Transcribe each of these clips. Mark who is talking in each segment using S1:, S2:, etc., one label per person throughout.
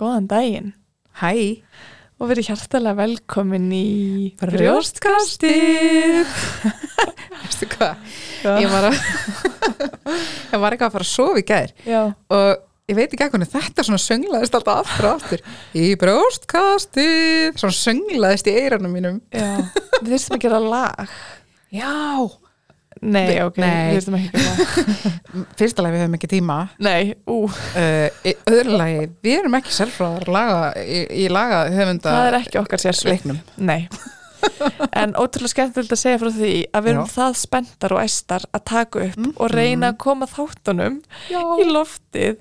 S1: Góðan daginn
S2: Hæ,
S1: og verið hjartalega velkomin í
S2: brjóstkastið Veistu hvað, ég
S1: Já,
S2: var að ég var eitthvað að fara að sofa í gær
S1: já,
S2: og ég veit ekki að hvernig þetta svona sönglaðist alltaf aftur og aftur í brjóstkastið svona sönglaðist í eiranum mínum
S1: já. Við þurfum að gera lag
S2: Já,
S1: Nei,
S2: Við-
S1: ok,
S2: nei.
S1: við þurfum ekki að gera lag
S2: fyrsta lagi við höfum ekki tíma
S1: Nei, ú,
S2: uh, í öðru lagi, við erum ekki sérfráðar laga, í, í laga höfunda
S1: það er ekki okkar sérsveit
S2: leiknum
S1: Nei En ótrúlega skemmtilegt að segja frá því að við erum
S2: Já.
S1: það spenntar og æstar að taka upp og reyna að koma þáttunum
S2: Já,
S1: í loftið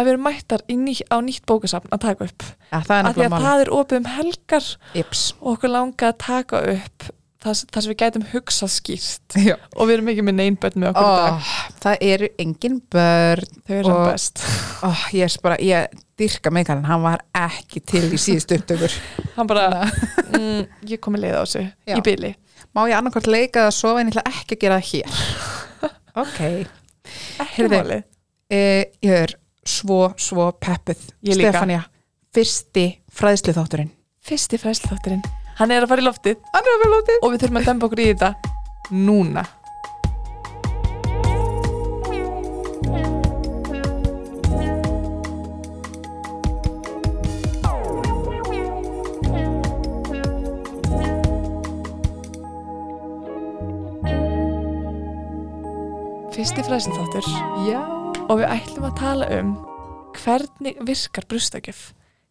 S1: að við erum mættar í ný, á nýtt bókasafn að taka upp
S2: það er
S1: af því
S2: nefnilega
S1: að
S2: mál
S1: það er opið um helgar
S2: Ips
S1: og okkur langa að taka upp það, sem- það sem við gætum hugsað skýrt
S2: Já
S1: og við erum ekki með neinbönd með okkur í dag
S2: Ó, það eru engin börn
S1: Þau eru
S2: og-
S1: samt best.
S2: Ó, ég er svo bara, ég dyrka mig hann hann var ekki til í síðustu upptökur
S1: Hann bara, mm, ég kom með leið á þessu
S2: Já.
S1: í byli.
S2: má ég annarkvært leika að sofa en ég ætla ekki að gera það hér ok
S1: Ekki
S2: Heyrðu,
S1: málið.
S2: e, ég er svo, svo peppuð
S1: Ég líka.
S2: Stefania, fyrsti fræðslu þátturinn
S1: Fyrsti fræsluþátturinn. Hann er að fara í loftið
S2: hann er að vera lótið
S1: og við þurfum að demba okkur í þetta núna. Fyrsti fræsluþáttur
S2: já,
S1: og við ætlum að tala um hvernig virkar brústakjöf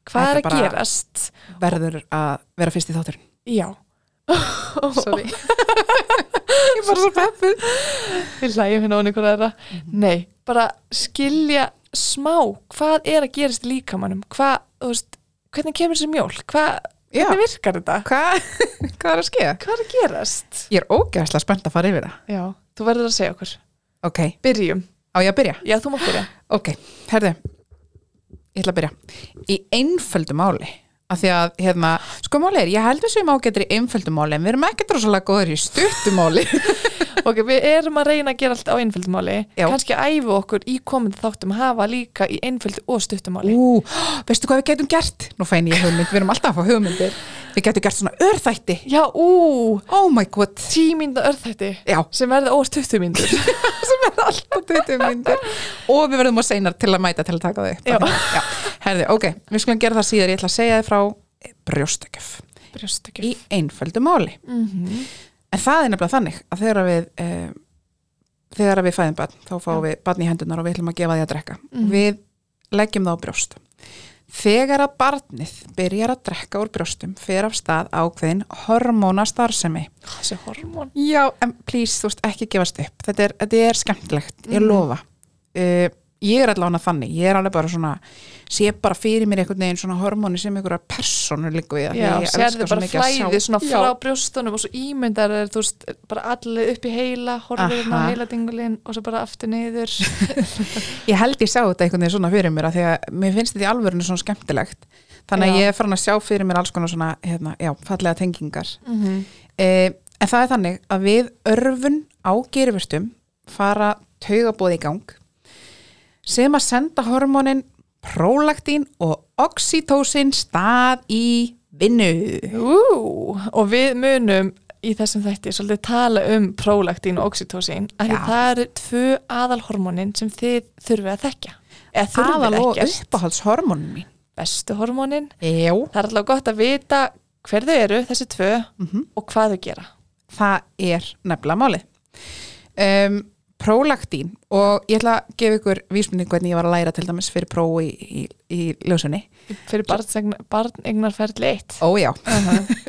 S1: hvað
S2: Þetta
S1: er að
S2: bara-
S1: gerast
S2: verður að vera fyrsti þátturinn
S1: já,
S2: sorry ég er bara svo peppuð
S1: við hlægjum hérna onni hverja þeirra nei, bara skilja smá, hvað er að gerast í líkamanum hvað, þú veist, hvernig kemur þessi mjólk hvað,
S2: Já.
S1: hvernig virkar þetta
S2: hvað hva er að skega?
S1: hvað er að gerast
S2: ég er ógeðslega spennt að fara yfir það
S1: já, þú verður að segja okkur,
S2: ok,
S1: byrjum
S2: á ég að byrja?
S1: já, þú mátt byrja
S2: Ok, herðu Ég ætla að byrja Í einföldu máli af því að, hérna, sko máli er, ég held við sem ágættir í einföldu máli, en við erum ekki drosalega góður í stuttu máli
S1: ok, við erum að reyna að gera allt á einföldumáli
S2: Já.
S1: kannski æfu okkur í komandi þáttum hafa líka í einföldu og stuttumáli
S2: Ú, veistu hvað við getum gert? Nú fæn ég hugmynd, við erum alltaf að fá hugmyndir Við getum gert svona örþætti
S1: já, ú,
S2: Oh my god,
S1: tímynda örþætti
S2: já,
S1: sem verða óvart 20 mínútur
S2: sem er alltaf tuttum myndir og við verðum á seinar til að mæta til að taka þau upp
S1: Já.
S2: Þannig að- já. Herðu, ok, við skulum gera það síðar, ég ætla að segja þið frá brjóstakjöf í
S1: brjóstakjöf
S2: einföldu máli
S1: mm
S2: Mhm.
S1: -hmm.
S2: En það er nefnilega þannig að þegar að við eh, þegar að við fæðum barn þá fáum
S1: Já.
S2: við barn í hendunar og við ætlum að gefa því að drekka
S1: Mhm.
S2: við leggjum það á brjóst Þegar að barnið byrjar að drekka úr brjóstum fer af stað ákveðin hormónastarsemi
S1: Ah, þessi hormón
S2: Já, en please, þú veist, ekki gefast upp Þetta er, þetta er skemmtilegt, ég
S1: Mhm.
S2: lofa uh, Ég er allavega þannig ég er alveg bara svona, sé bara fyrir mér einhvern veginn svona hormóni sem einhverja persónu líku við af því
S1: já,
S2: að ég elska
S1: sérðu
S2: svo
S1: bara
S2: mikið að sjá-
S1: flæði svona
S2: Já.
S1: frá brjóstunum og svo ímyndar er þú veist bara allir upp í heila horfir inn á
S2: Aha.
S1: heila dingulinn og svo bara aftur neyður
S2: Ég held ég sá þetta einhvern veginn svona fyrir mér að því að mér finnst þetta í alvörinu svona skemmtilegt þannig
S1: Já.
S2: að ég er farin að sjá fyrir mér alls konar svona hérna, já, fallega tengingar
S1: mm -hmm.
S2: e, en það er þannig að við örfun á gerifurtum fara taugabóð í gang sem að senda hormónin prólaktín og oxytósin stað í vinnu
S1: og við munum í þessum þætti svolítið tala um prólaktín og oxytósin af því
S2: Já.
S1: það eru tvö aðalhormónin sem þið þurfið að þekkja eða þurfið
S2: aðal og
S1: ekkert
S2: uppáhaldshormónin mín
S1: bestu hormónin
S2: Jú.
S1: það er alltaf gott að vita hver þau eru, þessi tvö
S2: Mhm.
S1: og hvað þau gera
S2: það er nefnilega málið um, prólaktín og ég ætla að gefa ykkur vísmynding hvernig ég var að læra til dæmis fyrir pró í, í, í ljósunni
S1: fyrir barnsegna- barneignarferðli eitt
S2: ó já,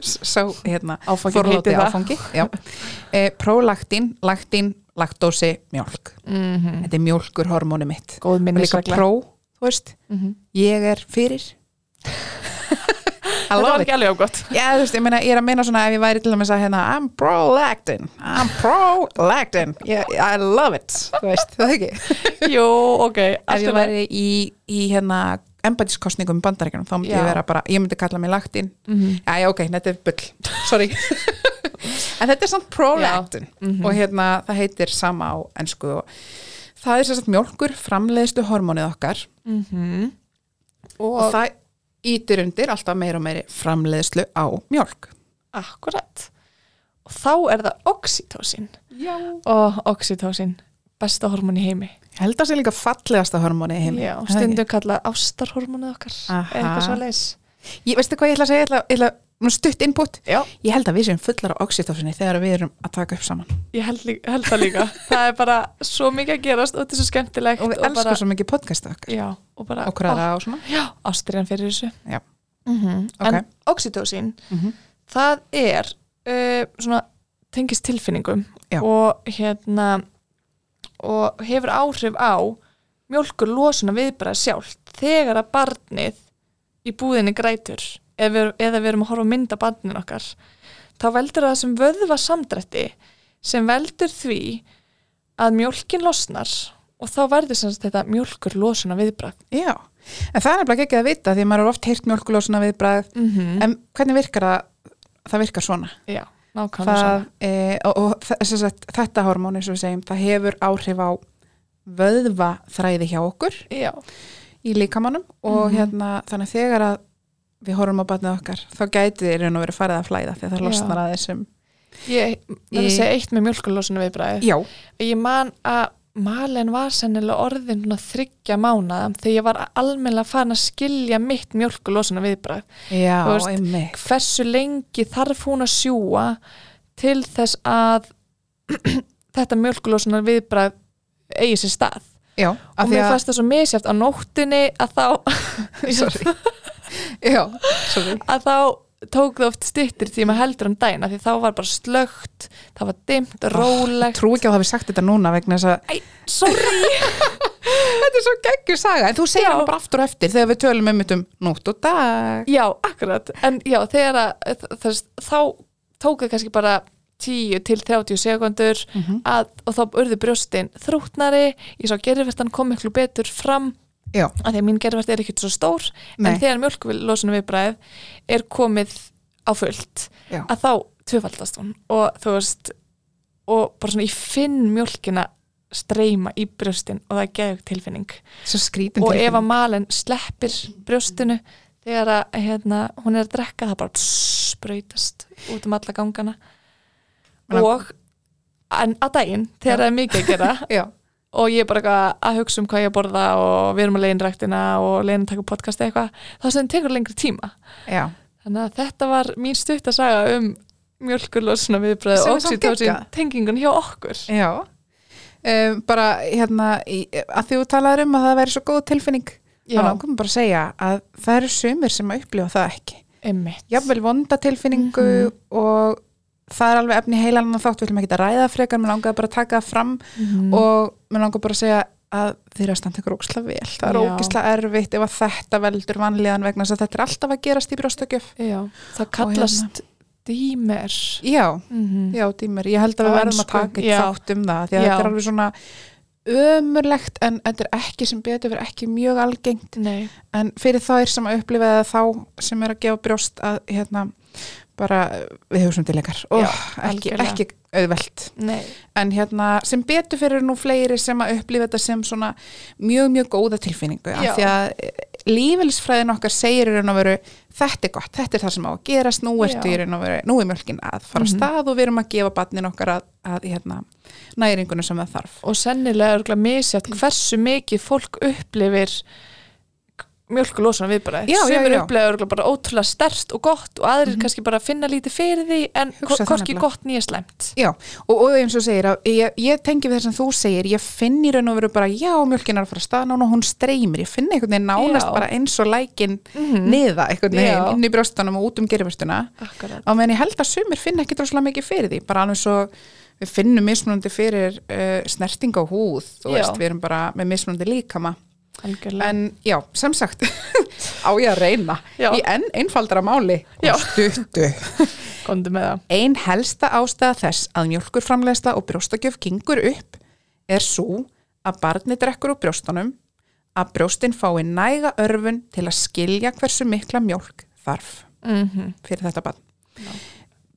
S2: sá hérna
S1: Áfangið
S2: forláti
S1: heitir það.
S2: áfangi e, prólaktín, laktín, laktósi mjólk,
S1: mm -hmm.
S2: þetta er mjólkur hormónu mitt
S1: góð
S2: og Mhm. líka
S1: minnisregla
S2: pró, þú veist
S1: mm -hmm.
S2: ég er fyrir I
S1: þetta
S2: love
S1: var
S2: it.
S1: ekki alveg ágótt
S2: Já, þú veist, ég, meina, ég er að meina svona ef ég væri til dæmis að hérna I'm prolactin, I'm prolactin yeah, I love it, þú veist, það ekki
S1: jú, ok,
S2: Ef
S1: allt
S2: ég
S1: er verið
S2: væri í, í hérna embætiskostningum bandaríkjunum, þá myndi
S1: Já.
S2: ég vera bara ég myndi kalla mig laktin,
S1: Mhm.
S2: já, ok, þetta er bull sorry en þetta er samt prolactin
S1: Mhm.
S2: og hérna, það heitir sama á ennsku og það er sérst mjólkur framleiðstu hormónið okkar
S1: -hmm.
S2: og
S1: og
S2: það, ítir undir alltaf meira og meiri framleiðslu á mjólk.
S1: Akkurat. Og þá er það oxytocin.
S2: Já. Oh,
S1: Og oxytocin, besta hormón í heimi.
S2: Held að sé líka fallegasta hormóni í heimi.
S1: Já,
S2: er það ekki?
S1: stundum kallað ástarhormónið okkar.
S2: Aha.
S1: Eða eitthvað svo leis.
S2: Ég, veistu hvað ég ætla að segja? Ég ætla, ég ætla nú stutt input.
S1: Já,
S2: Ég held að við séum fullar á oxytosinu þegar við erum að taka upp saman.
S1: ég held, lí- held það líka. það er bara svo mikið að gerast og þetta er svo skemmtilegt.
S2: Og við elskum
S1: bara,
S2: svo mikið podcasta okkar.
S1: Já, Ah. og bara
S2: Og hverja og svona.
S1: Já, ástriðan fyrir þessu.
S2: Já.
S1: Mm
S2: Ok.
S1: En oxytocin,
S2: Mhm.
S1: það er uh, svona tengist tilfinningum
S2: Já.
S1: og hérna og hefur áhrif á mjólkur losuna viðbæra sjálft þegar að barnið í búðinni grætur eða við, eða við erum að horfa á mynda barnin okkar þá veldur það sem vöðva samdrætti sem veldur því að mjólkin losnar og þá verður sem sagt þetta mjólkur losuna viðbræð
S2: Já. En það er nefnilega ekki að vita því að maður er oft heyrt mjólkulósuna viðbræð.
S1: mm -hmm.
S2: En hvernig virkar það? Það virkar svona.
S1: Já, nákvæmlega
S2: það,
S1: svona.
S2: e, og, og þ- sem sagt, þetta hormón eins og við segjum, það hefur áhrif á vöðva þræði hjá okkur
S1: Já,
S2: í líkamannum og
S1: Mhm.
S2: hérna þannig að þegar að við horfum á batnið okkar þá gæti þið raun og verið farið að flæða þegar það
S1: Já.
S2: losnar að þessum
S1: Ég verði
S2: Í-
S1: að segja eitt með mjölkulósinu viðbræði.
S2: já,
S1: Ég man að Malen var sennilega orðin svona þryggja mánaða þegar ég var almennilega farin að skilja mitt mjölkulósinu viðbræð.
S2: já,
S1: Þú veist,
S2: einmitt
S1: Hversu lengi þarf hún að sjúa til þess að þetta mjölkulósinu viðbræð eigi sér stað.
S2: já,
S1: Og
S2: af því
S1: mér
S2: að,
S1: fannst það svo misjæft á nóttinni að þá,
S2: sorry já, sorry
S1: að þá tók það oft stittir tíma heldur en dæna því þá var bara slögt, það var dimmt, rólegt.
S2: trú ekki að hafa sagt þetta núna vegna þess að
S1: Æ, sorry.
S2: þetta er svo geggjur saga, en þú segir
S1: Já.
S2: hann bara aftur og eftir þegar við tölum um um nótt og dag
S1: Já, akkurat, en já, þegar að þess, þá tók það kannski bara 10 til 30 sekundur
S2: Mhm.
S1: að, og þá urðu brjóstin þrútnari, ég sá gerðvertan kom miklu betur fram,
S2: já,
S1: af því að mín gerðvert er ekkert svo stór,
S2: Nei.
S1: en þegar mjölkulósunum viðbræð er komið á fullt,
S2: já,
S1: að þá tvöfaldast hún og þú veist, og bara svona ég finn mjölkina streyma í brjóstin og það er geðug tilfinning
S2: svo skrítin
S1: og
S2: tilfinning.
S1: ef að malen sleppir brjóstinu þegar að hérna, hún er að drekka það bara pss, sprautast út um alla gangana
S2: Meina-
S1: og en að daginn þegar það er mikið að gera
S2: já,
S1: og ég er bara eitthvað að hugsa um hvað ég að borða og við erum að leiðin ræktina og leiðin að taka podcast eða eitthvað, þá sem tekur lengri tíma
S2: já
S1: þannig að þetta var mín stutt að saga um mjölkulosna viðbröð
S2: Sem
S1: og
S2: er samt
S1: oxytocin
S2: geggjað.
S1: tengingun hjá okkur
S2: Já, um, bara hérna í, að því þú talaður um að það væri svo góð tilfinning
S1: Já.
S2: þá langum bara að segja að það eru sumir sem að upplifa það ekki
S1: Einmitt.
S2: jafnvel vonda tilfinningu og það er alveg efni í heilan að þátt við viljum ekki að ræða frekar, mér langaði bara að taka það fram
S1: Mhm.
S2: og mér langaði bara að segja að þeir eru að standa ykkur óksla vel það er
S1: Já.
S2: ógisla erfitt ef að þetta veldur vanlíðan vegna þess að þetta er alltaf að gerast í brjóstökjöf
S1: Já, það kallast
S2: hérna-
S1: dýmer
S2: Já,
S1: mm
S2: Já, dýmur, ég held að við
S1: Á
S2: verðum að
S1: ensku,
S2: taka
S1: sko-
S2: eitt
S1: já.
S2: þátt um það því að
S1: Já.
S2: þetta er alveg svona ömurlegt en þetta er ekki sem betur verið ekki mjög algengt
S1: Nei,
S2: en fyrir þær sem að upplifa það þá sem er að gefa brjóst að hérna bara eh, við hugum til ykkar og
S1: Já,
S2: ekki,
S1: algjörlega.
S2: ekki auðvelt
S1: nei
S2: en hérna sem betur fyrir eru nú fleiri sem að upplifa þetta sem svona mjög mjög góða tilfinningu af
S1: Já.
S2: því að lífilsfræðin okkar segir í raun og veru þetta er gott, þetta er það sem á að gerast nú ertu
S1: Já.
S2: í raun og veru, nú er mjölkin að fara á
S1: Mhm.
S2: stað og við erum að gefa barnin okkar að, að hérna, næringunum sem það þarf
S1: og sennilega örgulega misjátt hversu mikið fólk upplifir mjölkulósuna viðbræði
S2: Já, já,
S1: sem er
S2: já. Mhm.
S1: upplifið örgulega bara ótrúlega stert og gott og aðrir kannski bara finna lítið fyrir því en
S2: Hugsa það
S1: hvorki
S2: nefnilega.
S1: gott nýja slæmt
S2: Já, og, og eins og þú segir að ég, ég tengi við það sem þú segir, ég finn í raun og veru bara, já, mjölkin er að fara að stað núna og hún streymir, ég finn einhvern veginn nánast
S1: Já. Mhm.
S2: bara eins og lækin niða einhvern veginn
S1: Já.
S2: inn í brjóstunum og út um gerifestuna
S1: Akkurat.
S2: á meðan ég held að sumir finna ekki droslega mikið fyrir því bara alveg svo við finnum mismunandi fyrir uh, snerting á húð þú
S1: Já.
S2: veist, við erum bara með mismunandi líkama
S1: algjörlega
S2: en já, sem sagt á ég að reyna
S1: Já.
S2: í enn einfaldara máli
S1: Já.
S2: og stuttu
S1: komdu með það
S2: ein helsta ástæða þess að mjölkurframleðsla og brjóstakjöf gengur upp er svo að barni drekkur úr brjóstunum að brjóstin fái næga örfun til að skilja hversu mikla mjölk þarf
S1: mm
S2: fyrir þetta barn.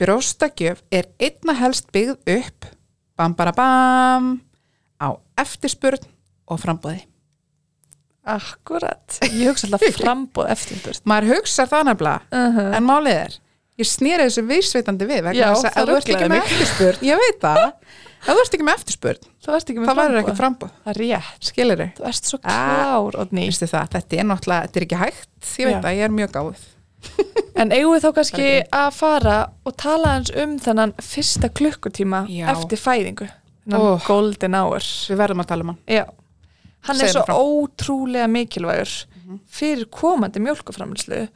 S2: Brjóstakjöf er einna helst byggð upp bam bara bam á eftirspurn og frambúði.
S1: Akkurat. Ég hugsa alltaf frambóð eftirspurt.
S2: maður hugsa það nefnilega
S1: Uh -huh.
S2: en málið er, ég snýra þessu vísveitandi við vegna
S1: Já,
S2: þess að
S1: það
S2: ef þú ert ekki
S1: ruglaði
S2: með
S1: mig.
S2: eftirspurn ég veit það, ef þú ert ekki með eftirspurn
S1: Það varst ekki með
S2: þá verður ekki
S1: frambóð.
S2: frambóð,
S1: Það er rétt.
S2: skilir þau
S1: Þú ert svo
S2: Ah.
S1: klár, Odný.
S2: Vistu það, þetta er náttúrulega, þetta er ekki hægt ég veit
S1: Já.
S2: það, ég er mjög gáð
S1: En eigum við þá kannski
S2: Það er
S1: að fara og tala hans um þennan fyrsta klukkutíma
S2: Já.
S1: eftir fæðingu. Þennan
S2: Oh.
S1: golden hour.
S2: við verðum að tala um hann
S1: Já. Hann
S2: Segðu
S1: er svo
S2: mér frá. Mhm.
S1: ótrúlega mikilvægur fyrir komandi mjólkuframlislu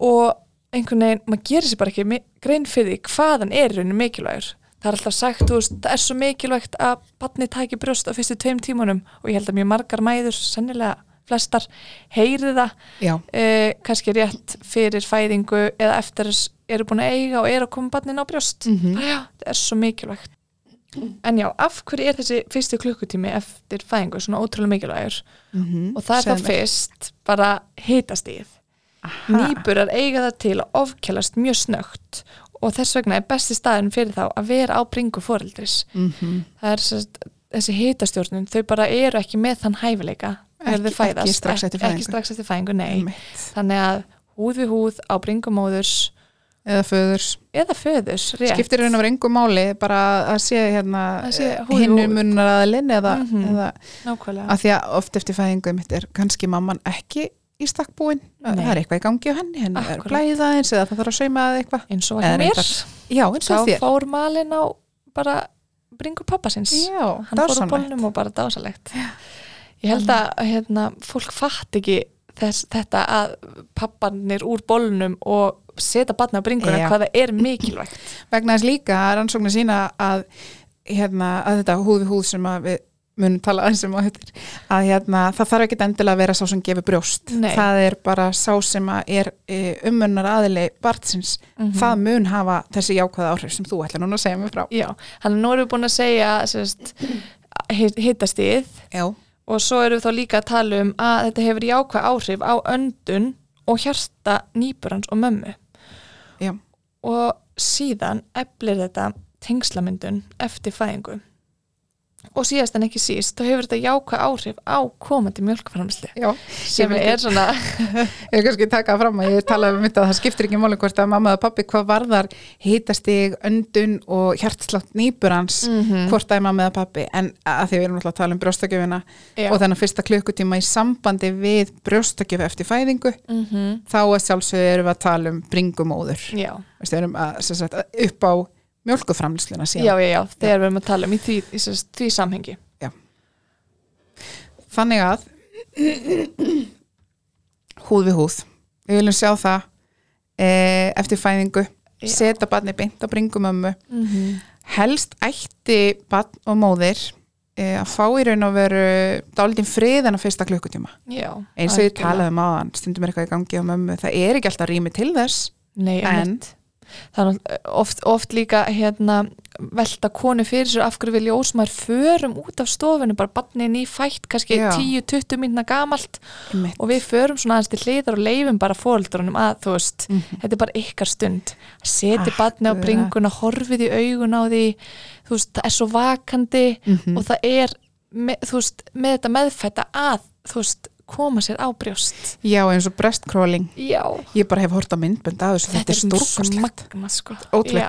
S1: og einhvern veginn, maður gerir sér bara ekki mi- grein fyrir því hvað hann er í rauninni mikilvægur. Það er alltaf sagt, þú veist, það er svo mikilvægt að batni taki brjóst á fyrstu tveim tímunum og ég held að mjög margar mæður, sennilega flestar, heyri það
S2: já,
S1: eh, kannski rétt fyrir fæðingu eða eftir þess eru búin að eiga og eru að koma barnin á brjóst
S2: Mhm.
S1: bara, já, það er svo mikilvægt en já, af hverju er þessi fyrsti klukkutími eftir fæðingu svona ótrúlega mikilvægur og það er
S2: Segðu
S1: þá
S2: mér.
S1: fyrst bara hitastíð nýburar eiga það til að ofkjælast mjög snögt og þess vegna er besti staðurinn fyrir þá að vera á bringu foreldris
S2: Mhm.
S1: það er sest, þessi hitastjórnun þau bara eru ekki með þann hæfileika þegar
S2: Ekki-
S1: þau fæðast.
S2: ekki strax eftir
S1: ekki
S2: fæðingu.
S1: strax eftir fæðingu, nei
S2: Einmitt.
S1: þannig að húð við húð á bringumóðurs
S2: eða föðurs
S1: eða föðurs rétt.
S2: skiptir raun og verið engu máli bara að sé hérna
S1: Að sé húð í
S2: hinnu
S1: húð.
S2: munnar aðalinn eða,
S1: Mhm.
S2: eða
S1: nákvæmlega
S2: að því að oft eftir fæðingu mitt er kannski mamman ekki í stakkbúin
S1: Nei.
S2: það er eitthvað í gangi á henni, henni er
S1: Akkurat.
S2: blæða eins eða það þarf að sauma að eitthvað
S1: eins og
S2: Eða
S1: ekki mér
S2: reyndar- já, eins
S1: þá
S2: og þér
S1: fór malin á bara bringu pappasins
S2: já,
S1: hann fór á
S2: dásamlegt.
S1: bólnum og bara dásalegt ég held að hérna, fólk fatt ekki þess, þetta að pappanir úr bólnum og setja barna á bringuna
S2: Já.
S1: hvað það er mikilvægt
S2: vegna þess líka að rannsóknir sína að, hérna, að þetta húð við húð sem að við munum tala aðeins um á þetta að hérna, það þarf ekki endilega að vera sá sem gefur brjóst
S1: Nei.
S2: það er bara sá sem að er umunnar aðili barnsins það mun hafa þessi jákvæða áhrif sem þú ætlar núna að segja mig frá
S1: já, hann nú erum við búin að segja sérst, hittastíð
S2: já,
S1: og svo erum við þá líka að tala um að þetta hefur jákvæð áhrif á öndun og hjarta nýburans og mömmu
S2: já,
S1: og síðan eflir þetta tengslamyndun eftir fæðingu og síðast en ekki síst þá hefur þetta jákvæð áhrif á komandi mjölkframsli
S2: já.
S1: sem
S2: vildi-
S1: er svona
S2: Ég er kannski taka það fram að ég talaði um mitt að það skiptir ekki máli hvort að mamma eða pappi hvað varðar hitastig, öndun og hjartslátt nýburans
S1: Mhm.
S2: hvort að er mamma eða pappi en að því við erum alltaf að tala um brjóstakjöfina
S1: Já.
S2: og þennan fyrsta klukkutíma í sambandi við brjóstakjöf eftir fæðingu
S1: mm -hmm.
S2: þá að sjálfsögðu erum við að tala um bringumóður
S1: já,
S2: Veistu, við erum að, sem sagt, upp á mjölkuframlisluna síðan
S1: já, já, já, þegar við erum að tala um í því, í sem, sagt því samhengi
S2: þannig að húð við húð við viljum sjá það e, eftir fæðingu
S1: Já.
S2: seta barni beint á bringumömmu
S1: mm
S2: Mhm.
S1: -hmm.
S2: helst ætti barn og móðir e, að fá í raun og veru dálítinn frið en á fyrsta klukkutíma
S1: já,
S2: eins og ég
S1: algjörlega.
S2: talaði um aðan, stundum er eitthvað í gangi á mömmu, það er ekki alltaf rými til þess
S1: Nei, en þannig oft, oft líka hérna, velta konu fyrir sér af hverju við ljósmaður förum út af stofunni bara barnin í fætt, kannski
S2: Já.
S1: 10-20 mínna gamalt
S2: Einmitt.
S1: og við förum svona aðeins til hliðar og leifum bara fóreldrunum að þú veist,
S2: Mhm.
S1: þetta er bara ykkar stund seti barni á
S2: Akkurat.
S1: bringuna, horfið í augun á því þú veist, það er svo vakandi
S2: Mhm.
S1: og það er með, þú veist, með þetta meðfætta að þú veist, koma sér á brjóst
S2: já eins og breastcrawling
S1: Já,
S2: ég bara hef hort á myndbönd að þessu, þetta er stórkostlegt
S1: magna, sko.
S2: ótrúlegt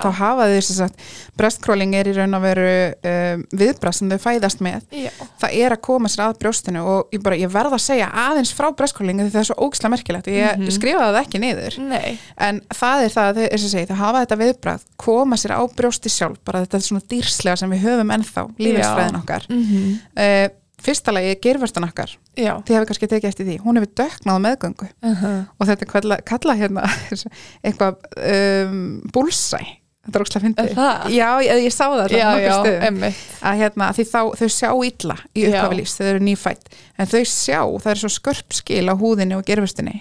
S1: Já.
S2: þá hafa þið þess að breastcrawling er í raun og veru um, viðbræð sem þau fæðast með
S1: Já,
S2: það er að koma sér að brjóstinu og ég, bara, ég verð að segja aðeins frá breastcrawling því það er svo ógislega merkilegt, ég skrifaði það ekki niður
S1: nei,
S2: en það er það að þau, eins og ég segi, þau hafa þetta viðbræð koma sér á brjósti sjálf bara þetta er svona dýrslega sem við höfum ennþá lífinsfræðin okkar
S1: mm
S2: uh, fyrsta lagi er gerfastan okkar
S1: já,
S2: þið hefur kannski tekið eftir því, hún hefur döknað á meðgöngu og þetta er kalla, kalla hérna eitthvað um, búlsæ þetta er ókslega
S1: Er
S2: fyndið
S1: það?
S2: já, ég, ég sá það allavega á
S1: já,
S2: nokkrum
S1: já,
S2: stöðum.
S1: emmitt
S2: að hérna, því þá, þau sjá illa í
S1: Já.
S2: upphafi lífs, þau eru nýfætt en þau sjá, það er svo skörp skil á húðinni og gerfustinni,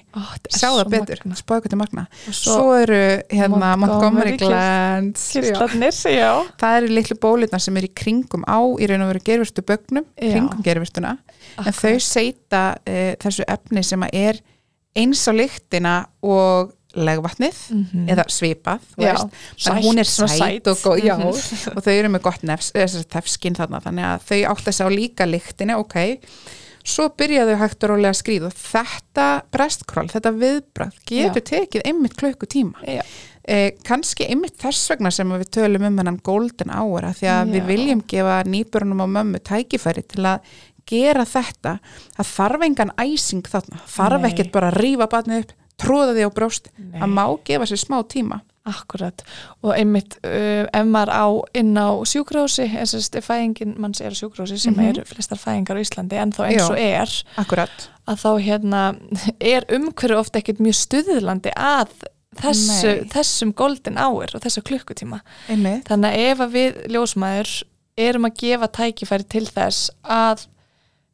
S2: sjá það betur spáðu hvað til magna,
S1: og
S2: svo,
S1: svo
S2: eru hérna
S1: Montgomery
S2: Montgomery glands já.
S1: kirtlarnir, já,
S2: það eru litlu bólutna sem eru í kringum á í raun og veru gerfustu bögnum
S1: Já.
S2: kringum gerfustuna, en þau seita e, þessu efni sem að er eins á lyktina og legvatnið eða svipað þú
S1: Mhm. Já,
S2: veist. Þannig að hún er
S1: sætt, svona
S2: sæt,
S1: sæt.
S2: og góð já,
S1: Mhm.
S2: og þau eru með gott nefs, eh, sem sagt, tefskinn þarna þannig að þau átt að sjá líka lyktina ok svo byrjaðu hægt og rólega að skrýða þetta brestkról, þetta viðbröð getur tekið einmitt klukkutíma
S1: Já.
S2: eh, kannski einmitt þess vegna sem við tölum um hennan golden hour af því að
S1: Já.
S2: við viljum gefa nýbörunum og mömmu tækifæri til að gera þetta það þarf engan æsing þarna þarf
S1: Nei.
S2: ekkert bara að rífa batnið upp tróða því á brjóst,
S1: Nei.
S2: það má gefa sér smá tíma
S1: Akkurat og einmitt uh, ef maður á inn á sjúkrási eins og þessi fæðingin manns er á sjúkrási sem
S2: Mhm.
S1: eru flestar fæðingar á Íslandi en þá eins
S2: Já.
S1: og er
S2: akkurat,
S1: að þá hérna er umhverju ofta ekkit mjög stuðlandi að þessu,
S2: Nei.
S1: þessum golden hour og þessu klukkutíma
S2: einmitt
S1: þannig að ef að við ljósmaður erum að gefa tækifæri til þess að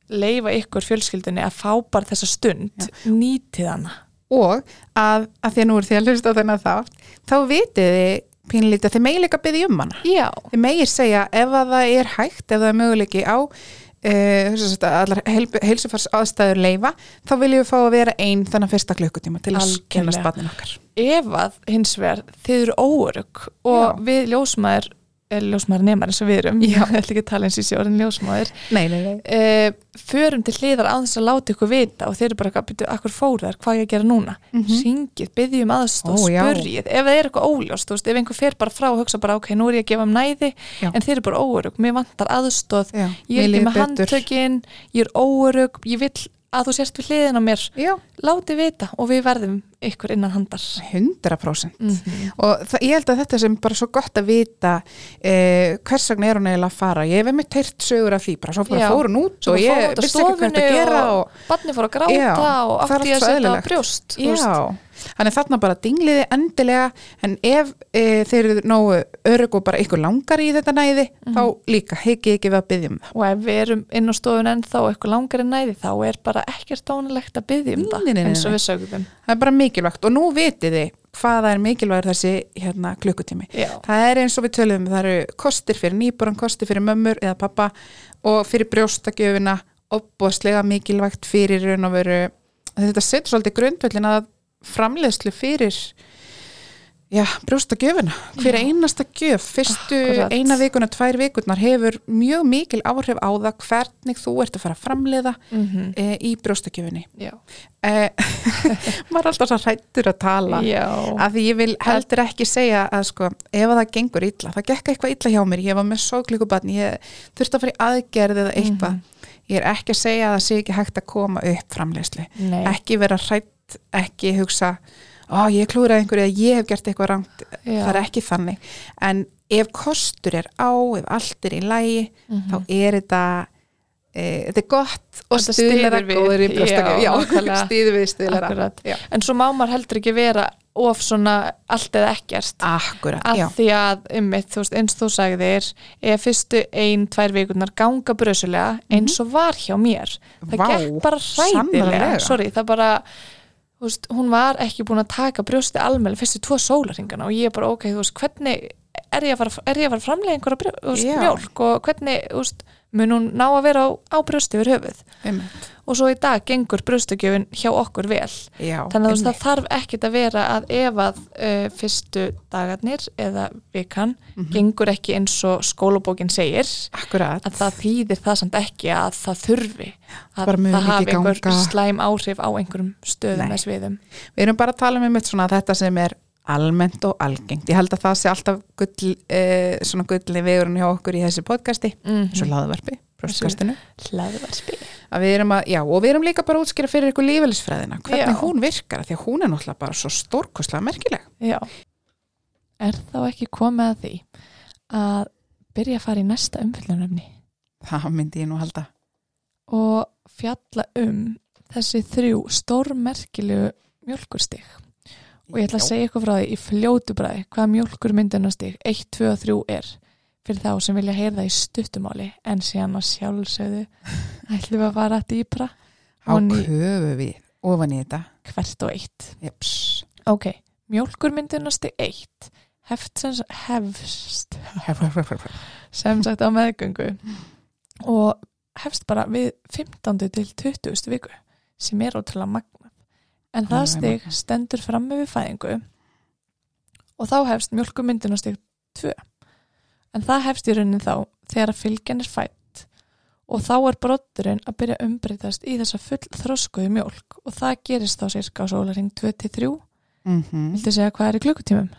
S1: leifa ykkur fjölskyldunni að fá bara þessa stund nýtið hana
S2: og að, að því að nú er því að hlusta á þennan þátt þá vitið þið pínlítið að þið megið líka byggði um hana
S1: Já,
S2: þið megið segja ef að það er hægt ef það er möguleiki á uh, allar heil, heilsufars aðstæður leifa þá viljum við fá að vera einn þannig fyrsta klukkutíma til að
S1: Algjörlega.
S2: kynast barnin okkar
S1: ef að hins vegar þið eru óörug og
S2: Já.
S1: við ljósmaður eða ljósmaður nemar eins og við erum ég ætla ekki að tala eins í sjórin ljósmaður
S2: nei, nei, nei.
S1: uh, förum til hliðar á þess að láta ykkur vita og þeir eru bara eitthvað, byrju, akkur fóruðar, hvað á ég að gera núna syngið, byggjum aðstóð,
S2: Mhm. Ó, já.
S1: spurjið ef það er eitthvað óljóst, þú veist, ef einhver fer bara frá og hugsa bara, ok, nú er ég að gefa um næði
S2: Já.
S1: en þeir eru bara óörug, mér vantar aðstóð
S2: Já,
S1: ég er
S2: mér
S1: ekki
S2: líður
S1: með
S2: betur.
S1: handtökin ég er óörug, ég vill að þú sért við hliðin á mér,
S2: já,
S1: látið vita og við verðum ykkur innan handar
S2: 100%
S1: Mhm.
S2: og það, ég held að þetta sem bara svo gott að vita eh, hvers vegna er hún eiginlega að fara ég hef einmitt teirt sögur af því bara svo bara
S1: Já.
S2: fór hún út
S1: Svo bara
S2: og
S1: fór
S2: ég
S1: út af
S2: vissi ekki hvað þetta
S1: stofunni
S2: gera og,
S1: og, barnið fór að gráta
S2: Já,
S1: og
S2: það er
S1: átti ég
S2: allt
S1: að setja á
S2: svo eðlilegt.
S1: brjóst þú veist.
S2: Já, þannig þarna bara dingliði endilega en ef e, þeir eru nógu örg og bara ykkur langar í þetta næði þá líka heikið ekki við að byggja um það.
S1: og ef við erum inn á stofun ennþá og eitthvað langar en næði þá er bara ekkert dánilegt að byggja um
S2: Nei,
S1: það
S2: nei, nei, nei,
S1: eins og
S2: nei.
S1: við sögum
S2: Það er bara mikilvægt og nú vitið þið hvað það er mikilvægur þessi hérna, klukkutími.
S1: Já.
S2: Það er eins og við tölum, um, það eru kostir fyrir nýbúran, kostir fyrir mömmur eða pappa og fyrir brjóstakjöfina opbóðslega mikilvægt fyrir raun og veru. Þetta setur svolítið grundvöllin að framleiðslu fyrir Já, brjóstakjöfuna. Hver einasta gjöf, fyrstu
S1: Akkurat.
S2: eina vikuna, tvær vikurnar hefur mjög mikil áhrif á það hvernig þú ert að fara að framleiða
S1: mm -hmm.
S2: e, í brjóstakjöfunni.
S1: já,
S2: E, maður er alltaf svo hrættur að tala.
S1: já.
S2: Af því ég vil heldur ekki segja að sko, ef að það gengur illa, það gekk eitthvað illa hjá mér, ég var með sóklíkubarn, ég þurfti að fara í aðgerð eða eitthvað.
S1: Mhm.
S2: Ég er ekki að segja að það sé ekki hægt að koma upp framleiðslu
S1: Nei,
S2: ekki vera hrætt, ekki hugsa ó, ég klúraði einhverju eða ég hef gert eitthvað rangt,
S1: Já.
S2: það er ekki þannig en ef kostur er á ef allt er í lægi, þá er þetta e, þetta er gott og
S1: Mhm. Þetta
S2: stuðlar
S1: styður
S2: að
S1: við.
S2: góður í
S1: Já,
S2: brjóstakjöf já,
S1: nákvæmlega.
S2: stuður við stuðlar að
S1: akkurat
S2: Já.
S1: en svo má maður heldur ekki vera of svona allt eða ekkert
S2: akkurat,
S1: að
S2: já,
S1: því að, ymmið, þú veist, eins og þú sagðir ef fyrstu ein, tvær vikurnar ganga brösulega eins og var hjá mér það
S2: Mhm. Vá,
S1: gekk bara hræðilega
S2: sannarlega.
S1: sorry, það bara þú veist, hún var ekki búin að taka brjósti almenn fyrstu tvo sólaringana og ég bara, ok, þú veist, hvernig er ég að fara, er ég að fara að framlega einhverja brjó, þú veist,
S2: Já.
S1: mjólk og hvernig, þú veist, mun hún ná að vera á, á brjósti yfir höfuð
S2: einmitt
S1: og svo í dag gengur brjóstakjöfin hjá okkur vel
S2: já,
S1: þannig að þú veist, það
S2: einmitt.
S1: þarf ekkit að vera að ef að uh, fyrstu dagarnir eða vikan
S2: Mhm.
S1: gengur ekki eins og skólabókin segir
S2: akkurat
S1: að það þýðir það samt ekki að það þurfi að
S2: Bara mun
S1: það
S2: ekki
S1: hafi einhver
S2: ganga.
S1: slæm áhrif á einhverjum stöðum
S2: Nei.
S1: eða sviðum
S2: við erum bara að tala um einmitt svona þetta sem er almennt og algengt, ég held að það sé alltaf gull, e, svona gullni vegurinn hjá okkur í þessi podcasti,
S1: mm
S2: svo laðvarpi brjóstkastinu
S1: hlaðvarpi
S2: að við erum að, já, og við erum líka bara að útskýra fyrir ykkur lífælisfræðina, hvernig
S1: Já.
S2: hún virkar af því að hún er náttúrulega bara svo stórkoslega merkileg
S1: Já. er þá ekki komið að því að byrja að fara í næsta umfyllunumni
S2: það myndi ég nú halda
S1: og fjalla um þessi þrjú stórmerkilegu mjölkurstig og ég ætla að
S2: Já.
S1: segja ykkur frá því í fljótu bræði hvað mjólkur myndunastig 1, 2 og 3 er fyrir þá sem vilja heyra það í stuttumáli en síðan að sjálfsögðu ætlum við að fara dýpra
S2: á
S1: Og ný-
S2: köfu við, ofan í þetta
S1: hvert og eitt
S2: Jeps.
S1: ok, mjólkur myndunastig 1 hefst sem, hefst sem sagt á meðgöngu og hefst bara við 15. til 20. viku sem er ótrúlega magna en það
S2: Alveg
S1: stig
S2: magnað.
S1: stendur fram með við fæðingu og þá hefst mjölkumyndin á stig 2 en það hefst í raunin þá þegar að fylgjan er fætt og þá er broddurinn að byrja að umbreytast í þessa full þroskuðu mjólk og það gerist þá cirka á sólaring 23
S2: Mm Eh.
S1: Viltu segja hvað er í klukkutímum?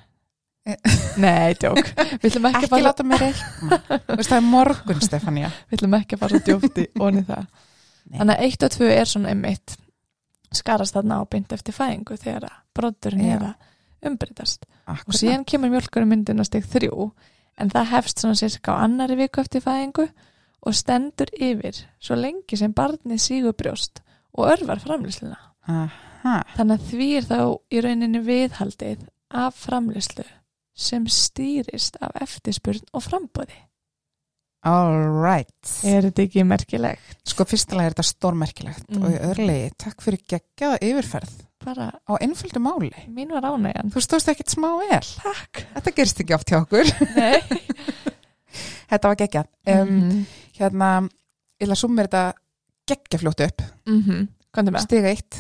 S1: Nei, djók Villum ekki,
S2: Ekki
S1: fara-
S2: láta mig reikna. Þú veist, það er morgun, Stefania.
S1: villum ekki fara djóft í onni það
S2: Nei.
S1: Þannig að 1 og 2 er svona einmitt skarast þarna á beint eftir fæðingu þegar að broddurinn
S2: Já.
S1: er að umbreytast og
S2: Akkurat.
S1: síðan kemur mjölkurum myndin á stig þrjú en það hefst svona cirka á annari viku eftir fæðingu og stendur yfir svo lengi sem barnið sígur brjóst og örvar framlýsluna
S2: Aha.
S1: þannig að því er þá í rauninni viðhaldið af framlýslu sem stýrist af eftirspurn og frambóði
S2: All right.
S1: er þetta ekki merkilegt
S2: Sko, fyrstilega er þetta stórmerkilegt
S1: Mm.
S2: og í örlegi, takk fyrir geggjaða yfirferð
S1: bara
S2: á einföldu máli.
S1: mín var ánægjan
S2: Þú stóðst ekkit smá vel.
S1: takk
S2: Þetta gerist ekki oft hjá okkur.
S1: Nei. Mhm.
S2: þetta var geggjað. Um, Hérna, ég ætla að summa þetta geggjafljótt upp.
S1: mm -hmm. komdu með
S2: Stiga eitt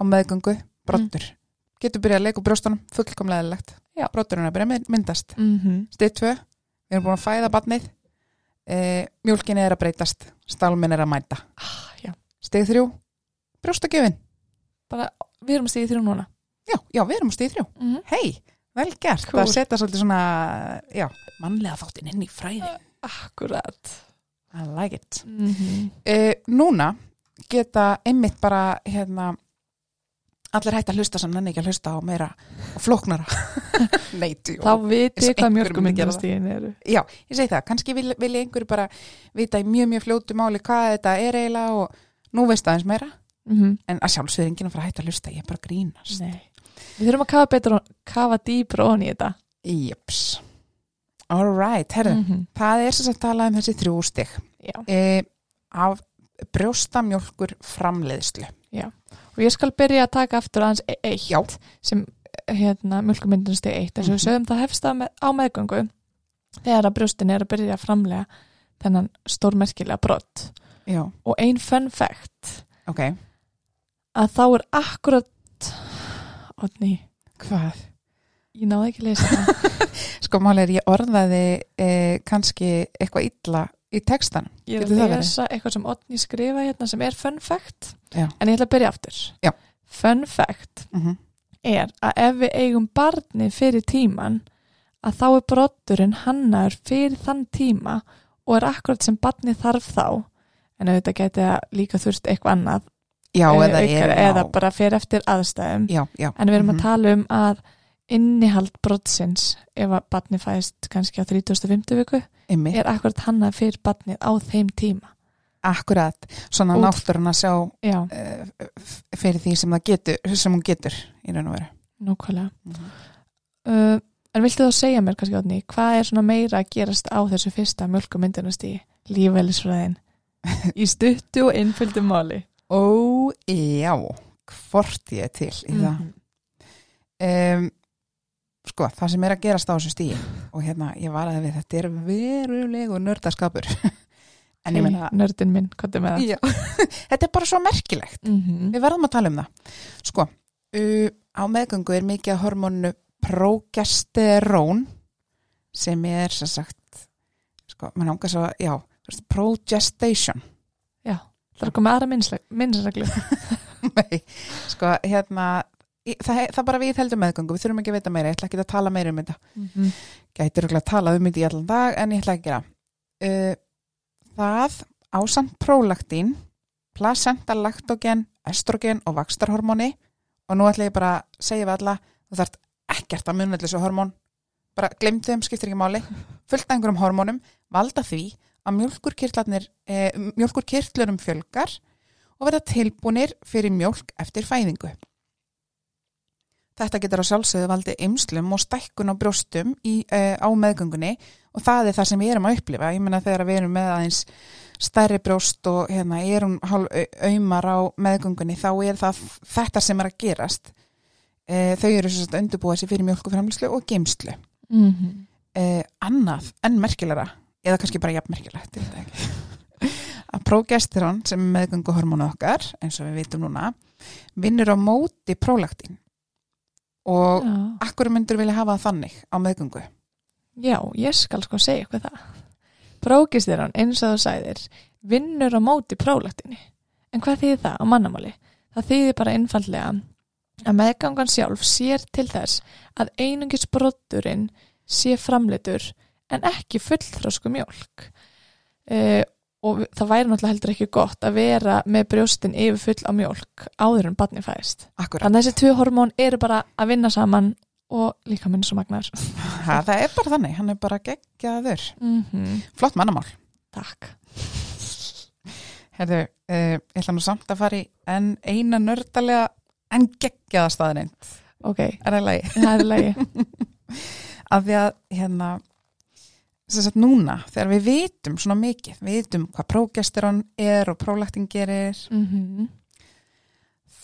S2: á meðgöngu, brottur. Getur byrjað að leika úr brjóstunum, fullkomlega eðlilegt.
S1: Já.
S2: Brotturinn er að byrja að mynd- myndast.
S1: mm -hmm.
S2: Stið tvö, við erum búin að fæða barnið. E, mjólkinni er að breytast, stálminn er að mæta.
S1: já.
S2: Stið þrjú, brjóstagjöfin.
S1: bara við erum stigið þrjú núna
S2: Já, já, við erum á stið þrjú.
S1: mm -hmm.
S2: Hei, vel gert.
S1: Cool.
S2: Að setja svolítið svona, já, mannlega þáttinn inn í fræðin.
S1: akkurat
S2: I like it.
S1: mm -hmm.
S2: e, núna geta einmitt bara hérna allir hægt að hlusta sem nenni ekki að hlusta á meira og flóknara neyti
S1: þá viti
S2: Eins-
S1: hvað
S2: einhverjum myndi gera
S1: mjölkumyndastíðin eru
S2: já, ég segi það, kannski vil, vil einhverju bara vita í mjög mjög fljótu máli hvað þetta er eiginlega og nú veist aðeins meira
S1: mm -hmm.
S2: en að sjálfsögur enginn að fara að hægt að hlusta, ég er bara að grínast
S1: við þurfum að kafa betur kafa dýbra ofan í þetta
S2: jöps alright, herðu,
S1: -hmm.
S2: það er sem sagt talað um þessi þrjú stig
S1: já.
S2: e, af brjóstamjólkur framleiðslu
S1: og ég skal byrja að taka aftur aðeins e- eitt
S2: Já.
S1: sem hérna, mjölkumyndastíð eitt eins og við
S2: Mhm.
S1: sögum það hefst það með, á meðgöngu þegar að brjóstin er að byrja að framlega þennan stórmerkilega brott
S2: já,
S1: og ein fun fact
S2: ok,
S1: að þá er akkurat Otni,
S2: hvað?
S1: ég náði ekki að lesa það
S2: Sko máli er ég orðaði eh, kannski eitthvað illa í textan.
S1: ég er
S2: Getur það
S1: að
S2: verið?
S1: lesa eitthvað sem Otni skrifa hérna sem er fun fact
S2: Já.
S1: en ég ætla að byrja aftur
S2: Já.
S1: fun fact
S2: Mm -hmm.
S1: er að ef við eigum barni fyrir tíman að þá er brotturinn hannaður fyrir þann tíma og er akkurat sem barni þarf þá en auðvitað geti það líka þurft eitthvað annað
S2: Já,
S1: eh,
S2: eða er
S1: aukar-
S2: já.
S1: eða bara fyrir eftir aðstæðum
S2: Já, já.
S1: en við erum
S2: Mhm.
S1: að tala um að innihald brottsins ef að barni fæðist kannski á 35. viku
S2: Einmitt,
S1: er akkurat hannað fyrir barnið á þeim tíma
S2: akkurat. Svona
S1: Út.
S2: náttúrun að sjá
S1: já,
S2: eh, f- fyrir því sem, það getur, sem hún getur í raun og veru.
S1: nákvæmlega
S2: Mhm.
S1: uh, en viltu þá segja mér kannski átni, hvað er svona meira að gerast á þessu fyrsta mjölkumyndunast í lífælisfræðin í stuttu og innfylgdu máli
S2: Ó, já, hvort ég er til
S1: Mhm.
S2: í það. um, sko, það sem er að gerast á þessu stíi og hérna, ég var að við þetta er verulegu nördaskapur en ég meina
S1: nördin minn, hvað er með það
S2: Já. þetta er bara svo merkilegt
S1: Mhm.
S2: Við verðum að tala um það. Sko, uh, á meðgöngu er mikið að hormónu progesterón sem er sem sagt, sko, mann ángar svo, já, þú veist, progestation.
S1: já, það er að koma með aðra minnsleg- minnsreglu
S2: Nei, sko, hérna, í- það, það bara við heldum meðgöngu, við þurfum ekki að vita meira, ég ætla ekki að tala meira um þetta.
S1: Mhm.
S2: Gætir okkur að tala um þetta í allan dag, en ég ætla ekki að gera. Uh, það ásamt prolaktín, placenta, laktogen, estrogen og vakstarhormóni og nú ætla ég bara að segja við alla þú þarft ekkert að munna allir þessu hormón bara glemt þeim, skiptir ekki máli fullt af einhverjum hormónum, valda því að mjölkurkirtlarnir e, mjölkurkirtlurum fjölgar og verða tilbúnir fyrir mjölk eftir fæðingu Þetta getur á sjálfsögðu valdi ymslum og stækkun á brjóstum í, e, á meðgöngunni og það er það sem við erum að upplifa ég meina þegar við erum með aðeins stærri brjóst og hérna er hún hálf auðmar á meðgöngunni þá er það þetta sem er að gerast e, þau eru svo að undurbúa sér fyrir mjölkuframlislu og geimslu
S1: Mhm.
S2: e, annað en merkilega eða kannski bara jafnmerkilegt ég veit það ekki. að progesterón sem er meðgönguhormónu okkar eins og við vitum núna vinnur á móti prólaktin og
S1: já.
S2: akkur myndur vilja hafa það þannig á meðgöngu
S1: já, ég skal sko segja eitthvað það Prókisterón, eins og þú sæðir, vinnur á móti prólaktinni. En hvað þýðir það á mannamáli? Það þýðir bara einfallega að meðgangan sjálf sér til þess að einungis brotturinn sé framleitur en ekki fullþrósku mjólk. Uh, og það væri náttúrulega heldur ekki gott að vera með brjóstin yfir full á mjólk áður en barni fæðist.
S2: Akkurat.
S1: Þannig að þessi tvö hormón eru bara að vinna saman og líka minn svo magnar.
S2: Ha, það er bara þannig, hann er bara geggjaður.
S1: Mm
S2: Flott mannamál.
S1: Takk.
S2: Herðu, uh, ég ætla nú samt að fara í enn eina nördalega en geggjaða staðinni.
S1: Ok,
S2: Er það lagi?
S1: það er lagi.
S2: Af því að, hérna, sem sagt núna, þegar við vitum svona mikið, við vitum hvað prógesterón er og prólaktin gerir,
S1: mm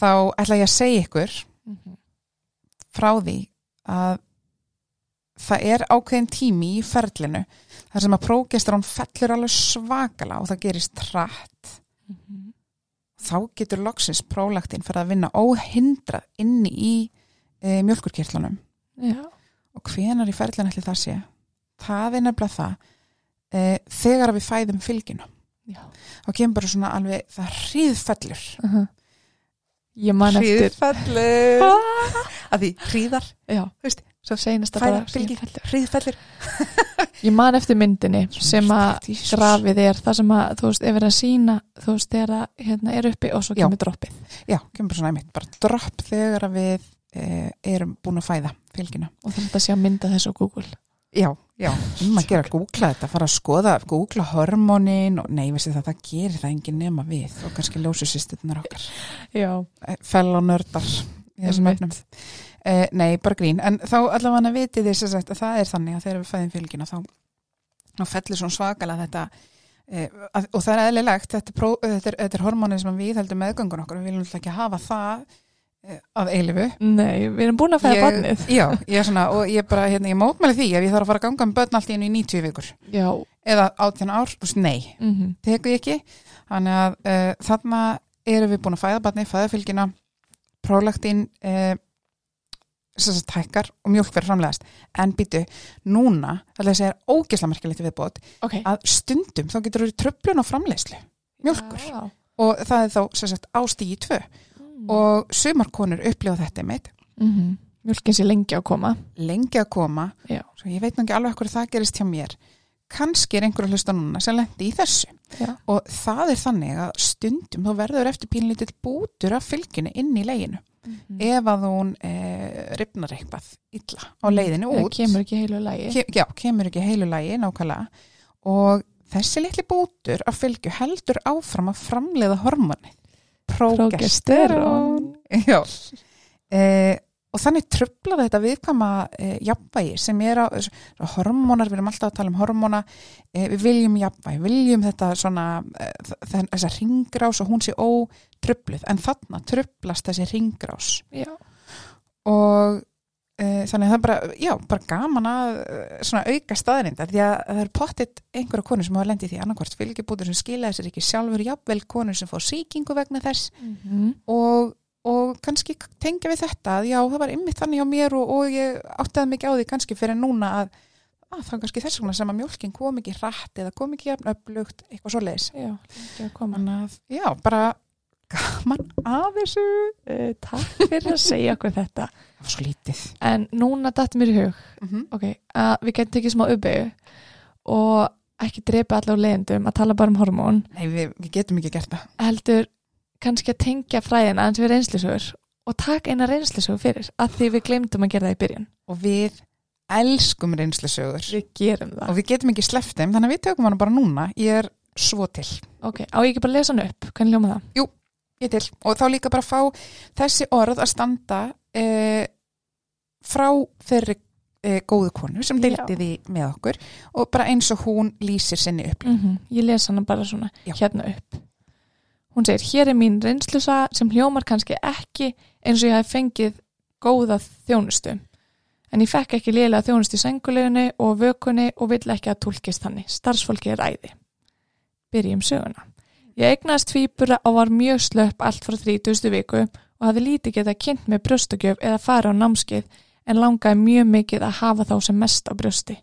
S2: þá ætla ég að segja ykkur
S1: mhm,
S2: frá því að það er ákveðin tími í ferlinu þar sem að prógesterón fellur alveg svakala og það gerist rætt
S1: mhm.
S2: þá getur loksins prólaktin fyrir að vinna óhindrað inni í e, mjölkurkirtlunum
S1: Já,
S2: og hvenar í ferlinu ætli það sé það er nefnilega það e, þegar við fæðum fylginu
S1: já.
S2: þá kemur bara svona alveg það hríðfellur
S1: Ég man eftir.
S2: hríðfellur að því hríðar,
S1: Já,
S2: þú veist,
S1: svo seinast að bara
S2: fæðar, fylgir,
S1: fellur.
S2: hríðfellur
S1: Ég man eftir myndinni sem að grafið er það sem að, þú veist, ef er að sína þú veist, er að, hérna, er uppi og svo
S2: Já.
S1: kemur droppið.
S2: Já, kemur bara svona einmitt, bara dropp þegar að við eh, erum búin að fæða fylgina.
S1: Og þannig að sé að mynda þessu á Google.
S2: Já, já, um að gera að googla þetta, fara að skoða, googla hormónin og nei, veistu það, það gerir það engin nema við og kannski ljósu sýstirnar okkar,
S1: Já.
S2: Eh, fell og nördar í þessum
S1: Einmitt.
S2: efnum. Eh, nei, bara grín, en þá allavega vitið þið sem sagt að það er þannig að þegar við fæðum fylgina þá, þá fellur svona svakalega þetta eh, að, og það er eðlilegt, þetta, er pró, þetta, er, þetta er hormónin sem við heldum meðgöngun okkar og við viljum náttúrulega ekki hafa það eh, að eilifu
S1: Nei, við erum búin að fæða barnið.
S2: já, ég er svona og ég bara, hérna, ég mótmæli því ef ég þarf að fara að ganga um börn allt í einu í 90 vikur
S1: Já.
S2: eða 18 ár, þú veist, nei
S1: Mm
S2: tekur ég ekki, þannig að uh, þarna erum við búin að fæða barni fæðafylgina, prólaktin uh, sem sagt hækkar og mjólk verður framlegast en býtu, núna, alltaf þessi er ógisla merkilegt viðbót,
S1: Ok.
S2: að stundum þá getur þú tröflun á framlegslu mjólkur
S1: Já.
S2: og það er þá sem sagt ástígi tvö
S1: Og
S2: og sumar konur upplifa þetta meitt
S1: mm mjölkin sé lengi að koma.
S2: lengi að koma
S1: Já.
S2: svo ég veit nú ekki alveg hvað það gerist hjá mér kannski er einhver að hlusta núna sem lendi í þessu
S1: Já.
S2: og það er þannig að stundum þá verður eftir pínlítill bútur af fylginu inn í leginu
S1: Mm. Mhm.
S2: ef að hún e, ripnar eitthvað illa á leiðinu
S1: Það
S2: út
S1: Mm. kemur ekki í heilu lagi.
S2: Ke já, kemur ekki heilu lægi nákvæmlega og þessi litli bútur af fylgju heldur áfram að framleiða hormoni
S1: Prógesterón.
S2: Já. E, og þannig tröflaði þetta viðkama e, jafnvægi sem er á, s- hormónar, við erum alltaf að tala um hormóna, e, við viljum jafnvægi, viljum þetta svona, e, þess að ringrás og hún sé ótröfluð, en þarna tröflast þessi ringrás
S1: Já.
S2: og e, þannig að það er bara, já, bara gaman að eh, svona auka staðarindar því að það er pottitt einhverja konur sem hafa lendið því annarkvart fylgjubútur sem skila þessir ekki sjálfur jafnvel konur sem fá sýkingu vegna þess
S1: Mhm.
S2: og, og kannski tengja við þetta að já, það var ymmið þannig á mér og, og ég áttaði mikið á því kannski fyrir núna að að það er kannski þess vegna sem að mjólkin kom ekki rætt eða kom ekki jafn öflugt, eitthvað svo leiðis
S1: Já, lengi að koma.
S2: þannig að, já, bara gaman að þessu
S1: Uh, takk fyrir að segja okkur þetta.
S2: það var svo lítið
S1: En núna datt mér í hug
S2: mm -hmm.
S1: ok, að við getum tekið smá uppeyju og ekki drepa allar á leiðendum að tala bara um hormón
S2: nei, við, við getum ekki gert það
S1: heldur kannski að tengja fræðina aðeins við reynslisögur og taka eina reynslisögur fyrir að því við glemdum að gera það í byrjun
S2: og við elskum reynslusögur
S1: við gerum
S2: og
S1: það
S2: við getum ekki sleppt þeim þannig að við tökum hana bara núna ég er svo til,
S1: ok, á ég ekki bara að lesa hann upp, hvernig ljóma það?
S2: ég til og þá líka bara fá þessi orð að standa eh, frá þeirri eh, góðu konu sem deildi
S1: Já.
S2: því með okkur og bara eins og hún lýsir sinni upp
S1: Mm ég lesa hann bara svona
S2: Já.
S1: hérna upp hún segir, hér er mín reynslusa sem hljómar kannski ekki eins og ég hef fengið góða þjónustu en ég fekk ekki lélega þjónustu í senguleginu og vökunni og vill ekki að tólkist þannig starfsfólki er æði byrjum söguna ég eignast tvíbura og var mjög slöpp allt frá 30. viku og hafði lítið geta kynnt með brjóstakjöf eða fara á námskeið en langaði mjög mikið að hafa þá sem mest á brjósti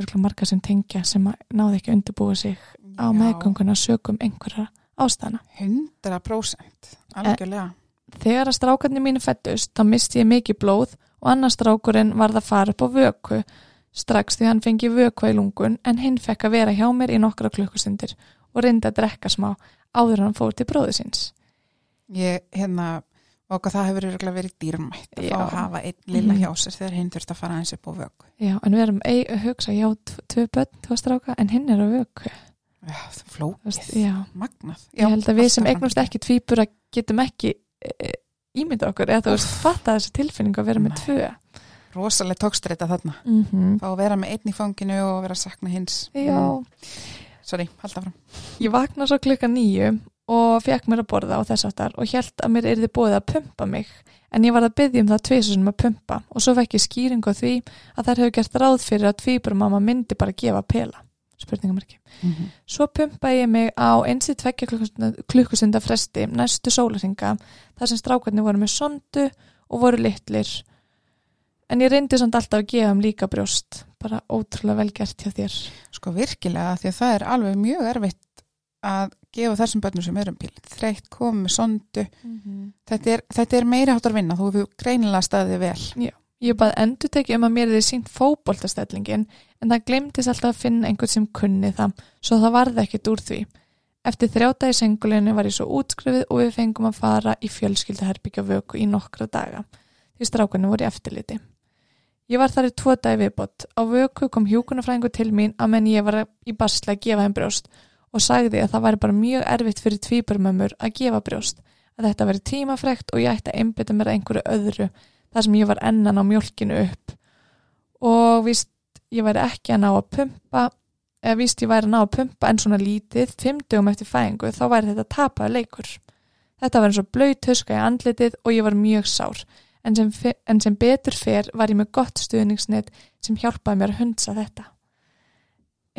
S1: örgulega marga sem tengja sem að náði ekki undirbúið sig á meðgönguna sögum einhverja ástæðana.
S2: 100% algjörlega
S1: Þegar að strákarnir mínu fættust, þá misti ég mikið blóð og annar strákurinn varð að fara upp á vöku strax því hann fengi vökva í lungun en hinn fekk að vera hjá mér í nokkra klukkustundir og reyndi að drekka smá áður en hann fór til bróðu síns.
S2: ég, hérna, og hvað það hefur örugglega verið dýrmætt að fá
S1: Já.
S2: að hafa einn lilla
S1: Mhm.
S2: hjá sér þegar hinn þurft að fara eins upp á vöku
S1: Já, en við erum ei, að hugsa, já, tv- tvö börn, tvö stráka, en hinn er á vöku.
S2: Já, það er
S1: Þú Veist,
S2: flókið,
S1: já.
S2: magnað Já,
S1: ég held að við
S2: alltaf
S1: sem
S2: fram-
S1: eignumst ekki tvýbura getum ekki e, ímynda okkur eða þú veist fatta þessa tilfinningu að vera með
S2: Nei.
S1: tvö
S2: rosaleg tókstreita þarna
S1: mm -hmm.
S2: fá að vera með einn í fanginu og vera að sakna hins
S1: Já,
S2: sorry, halda fram
S1: ég vakna svo klukka nýju og fekk mér að borða og þess aftar og held að mér yrði búið að pumpa mig en ég var að byggja um það tvisunum að pumpa og svo vekk ég skýringu á því að þær hefur gert ráð fyrir að tvíburumamma myndi bara gefa pela spurningamarki Svo pumpaði ég mig á eins í tveggja klukkustunda- klukkustunda fresti næstu sólaringa þar sem strákarnir voru með sondu og voru litlir. En ég reyndi samt alltaf að gefa um líka brjóst. Bara ótrúlega vel gert hjá þér.
S2: sko virkilega, því að það er alveg mjög erfitt að gefa þessum börnum sem erum píl þreytt, komið með sondu þetta er, þetta er meiri hátar vinna þú hefur greinilega staðið vel
S1: Ég baði endur tekið um að mér þið sínt fótboltastellingin en það glemtist alltaf að finna einhvern sem kunni það svo það varði ekkit úr því. Eftir þrjáta í sengulinu var ég svo útskrifið og við fengum að fara í fjölskyldaherbyggja vöku í nokkra daga því strákunni voru í eftirliti. Ég var þar í tvo dagi viðbót. Á vöku kom hjúkunafræðingu til mín að menn ég var í basla að gefa þeim brjóst og sagði að það væri bara mjög erfitt fyrir tvíburmömmur að gefa brjóst, að þetta væri tímafrekt og ég ætti að einbytta mér að einhverju öðru þar sem ég var ennan á mjólkinu upp og víst ég væri ekki að ná að pumpa eða víst ég væri að ná að pumpa en svona lítið fimm dögum eftir fæðingu þá væri þetta tapaði leikur þetta var eins og blöyt huska í andlitið og ég var mjög sár en sem, fe- en sem betur fer var ég með gott stuðningsnet sem hjálpaði mér að hundsa þetta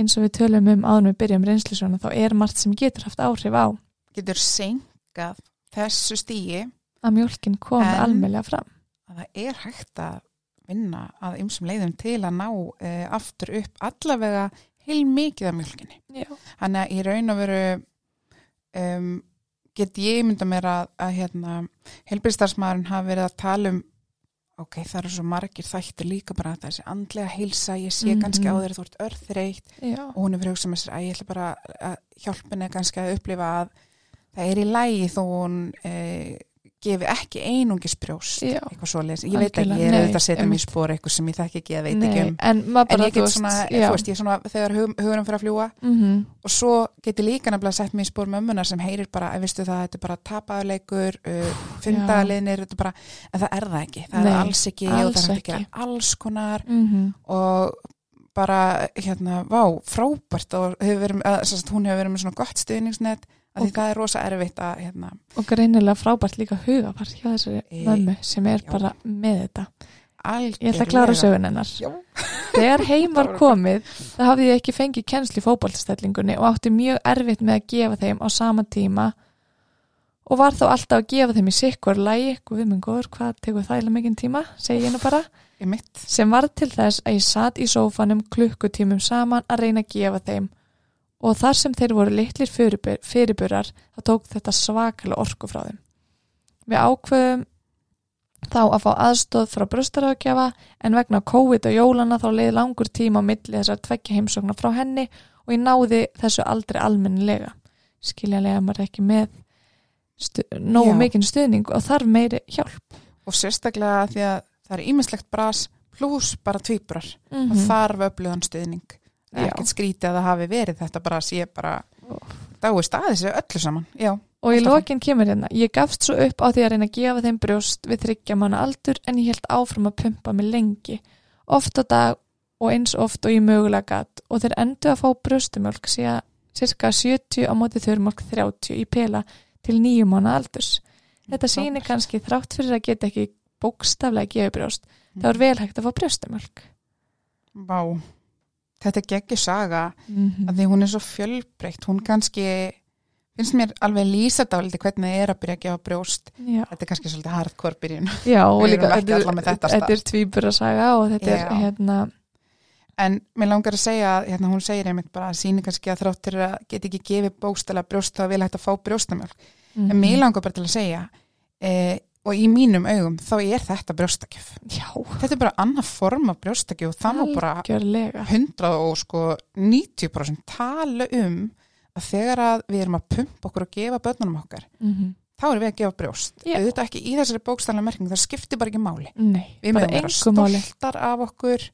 S1: eins og við tölum um áður en við byrjum reynslisjóna þá er margt sem getur haft áhrif á
S2: getur senkað þessu stíi
S1: að mjólkin kom
S2: En-
S1: almennlega fram
S2: að það er hægt að vinna að ymsum leiðum til að ná e, aftur upp allavega heil mikið af mjölkinni.
S1: Já.
S2: Þannig að í raun og veru um, get ég mynda mér að, að hérna, heilbyrðstarsmaðurinn hafi verið að tala um ok, það eru svo margir þættir líka bara að þessi andlega heilsa, ég sé
S1: Mhm.
S2: kannski á þeir þú ert örþreitt
S1: Já.
S2: og hún er verið að hugsa með sér að ég ætla bara að hjálpina kannski að upplifa að það er í lægi þó hún e, gefi ekki einungisbrjóst
S1: Já.
S2: eitthvað svoleiðis, ég veit ekki,
S1: Algjörlega,
S2: ég er
S1: nei,
S2: auðvitað að setja mig í
S1: einmitt.
S2: spór eitthvað sem ég þekki ekki að veit
S1: Nei,
S2: ekki um
S1: en, maður
S2: en
S1: bara,
S2: ég get
S1: þú veist,
S2: svona,
S1: já.
S2: þú veist, ég er svona þegar hug, hugurum fyrir að fljúa
S1: Mhm.
S2: og svo get ég líka nefnilega að setja mig í spór mömmunar sem heyrir bara, að veistu það, þetta er bara tapaðuleikur, uh, fimmdagaliðinir þetta er bara, en það er það ekki það
S1: Nei,
S2: er alls ekki, og
S1: alls
S2: það er ekki
S1: ekki.
S2: alls konar
S1: Mhm.
S2: og bara, hérna, vá, frábært og hefur verið, að, sagt, hún hefur verið með svona gott stuðningsnet, af því
S1: Ok.
S2: það er rosa erfitt að, hérna,
S1: og greinilega frábært líka hugafar hjá þessari
S2: Í-
S1: mömmu sem er
S2: E, já.
S1: bara með þetta
S2: algjörlega
S1: ég ætla að klára sögun hennar
S2: Já.
S1: þegar heim var komið þá hafði ég ekki fengið kennslu í fótboltastellingunni og átti mjög erfitt með að gefa þeim á sama tíma og var þá alltaf að gefa þeim í sikkur lægi, guð minn góður, hvað tekur það eiginlega mikinn tíma, segi ég nú bara
S2: í mitt,
S1: sem varð til þess að ég satt í sófanum klukkutímum saman að reyna að gefa þeim og þar sem þeir voru litlir fyrirbur, fyrirburar þá tók þetta svakalega orku frá þeim. Við ákveðum þá að fá aðstóð frá bröstarafgjafa en vegna COVID og jólana þá leið langur tíma á milli þessar tveggja heimsókna frá henni og ég náði þessu aldrei almennilega. Skiljanlega er maður ekki með stu, nógu
S2: Já.
S1: mikinn stuðning og þarf meiri hjálp.
S2: og sérstaklega af því að það er ímislegt bras pluss bara tvíbrar
S1: Mm
S2: og þarf öflugan stuðning Það er
S1: Já.
S2: ekkert skrítið að það hafi verið þetta bara sé bara
S1: Ó.
S2: dáist að þessu öllu saman já,
S1: Og í
S2: Alltaf.
S1: lokin kemur hérna, ég gafst svo upp á því að reyna að gefa þeim brjóst við þryggja manna aldur en ég held áfram að pumpa mig lengi, oft á dag og eins oft og ég mögulega gatt og þeir endu að fá brjóstumjólk síðan cirka 70 á móti þurrmjólk 30 í pela til nýju manna aldurs. Þetta sýnir kannski þrátt fyrir að geta ekki bókstaflega gefið brjóst, þá er vel hægt að fá brjóstumjólk.
S2: Vá. þetta er geggjur saga
S1: Mm
S2: að því hún er svo fjölbreytt hún kannski finnst mér alveg lýsa dálítið hvernig það er að byrja að gefa brjóst
S1: Já.
S2: þetta er kannski svolítið hardcore byrjun
S1: Já, og
S2: Við erum
S1: líka,
S2: ekki
S1: þetta er-
S2: allar með þetta
S1: þetta er tvíburasaga og þetta er
S2: Já.
S1: hérna,
S2: en mér langar að segja að hérna, hún segir einmitt bara að síni kannski að þráttir að geta ekki gefið bókstala brjóst þá vil hægt að fá brjóstamjálk en
S1: Mhm.
S2: mér langar bara til að segja e, og í mínum augum þá er þetta brjóstakjöf
S1: mhm, Já,
S2: þetta er bara annað form af brjóstakjöf og það má bara
S1: algjörlega
S2: 100 og sko 90% tala um að þegar að við erum að pumpa okkur og gefa börnunum okkar
S1: mm
S2: þá erum við að gefa brjóst
S1: Já.
S2: auðvitað ekki í þessari bókstæðlega merking það skiptir bara ekki máli
S1: Nei,
S2: við
S1: bara
S2: mögum vera
S1: engu máli
S2: stoltar af okkur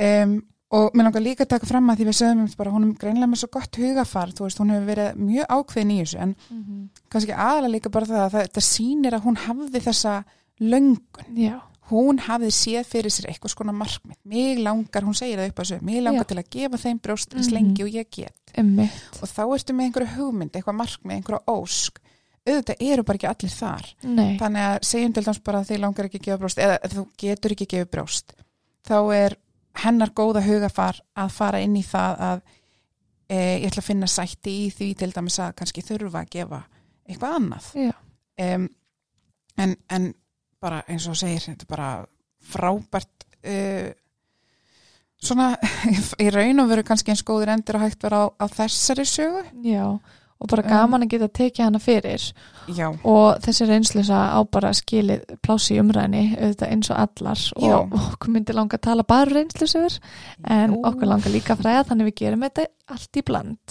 S2: um, og mér langar líka að taka fram að því við sögum um bara hún er greinlega með svo gott hugafar þú veist, hún hefur verið mjög ákveðin í þessu en
S1: Mhm.
S2: kannski aðalega líka bara það að þetta sýnir að hún hafði þessa löngun,
S1: Já,
S2: hún hafði séð fyrir sér eitthvað skona markmið, mig langar hún segir það upp að þessu, mig langar
S1: Já.
S2: til að gefa þeim brjóst eins
S1: Mhm.
S2: lengi og ég get
S1: emmitt
S2: og þá ertu með einhverja hugmynd, eitthvað markmið, einhverja ósk auðvitað eru bara ekki allir þar
S1: Nei,
S2: þannig að segjum til dæmis bara að þið langar ekki að gefa brjóst eða þú getur ekki að gefa brjóst þá er hennar góða hugafar að fara inn í það að e, ég ætla að finna sætti í því til dæmis að kannski þurfa að gefa eitthvað annað
S1: Já.
S2: Em, en, en bara eins og þú segir þetta er bara frábært uh, svona í raun og veru kannski eins góðir endur að hægt vera á, á þessari sögu
S1: já og bara
S2: Um.
S1: gaman að geta tekið hana fyrir
S2: já,
S1: og þessi reynslusa á bara skilið plási í umræðinni auðvitað eins og allar
S2: Já.
S1: og okkur myndi langa að tala bara um reynslusögur en
S2: Jú.
S1: okkur langar líka að fræða þannig við gerum þetta allt í bland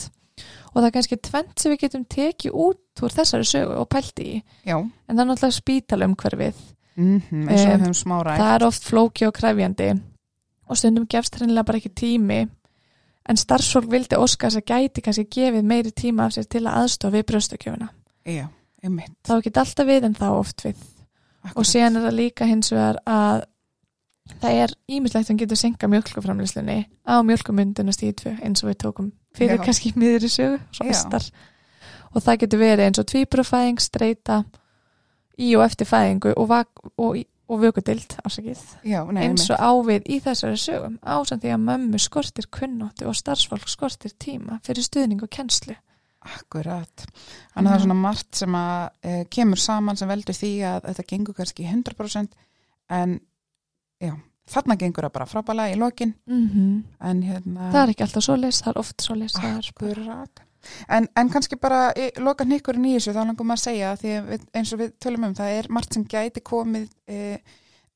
S1: og það er kannski tvent sem við getum tekið út úr þessari sögu og pælt í
S2: já.
S1: en það er náttúrulega spítalumhverfið
S2: Mm eins og
S1: Em,
S2: við höfum smá rætt
S1: það er oft flóki og krefjandi og stundum gefst hreinlega bara ekki tími en starfsfólk vildi óska þess að gæti kannski gefið meiri tíma af sér til að aðstofa við brjóstakjöfuna
S2: já, um mitt
S1: þá ekki alltaf við en þá oft við og síðan er það líka hins vegar að það er ímislegt sem getur senka mjölkuframlýslinni á mjölkumundun og stíðtfu eins og við tókum fyrir
S2: Já.
S1: kannski miður í sögu svo
S2: Já.
S1: östar og það getur verið eins og tvíbrúfæðing, streita í og eftir fæðingu og, vak- og, og vökudild ásakið
S2: Já, nei,
S1: eins og ávið í þessari sögum ásand því að mömmu skortir kunnáttu og starfsfólk skortir tíma fyrir stuðning og kennslu.
S2: Akkurat. Þannig
S1: Mhm.
S2: að það er svona margt sem að e, kemur saman sem veldur því að þetta gengur kannski 100% en já, þarna gengur það bara frábælega í lokin en hérna
S1: Það er ekki alltaf svoleiðs, það er oft svoleiðs. það er bara-
S2: akkurat. En, en kannski bara í, loka hnykkurinn í þessu þá langum maður að segja því að við, eins og við tölum um það er margt sem gæti komið e,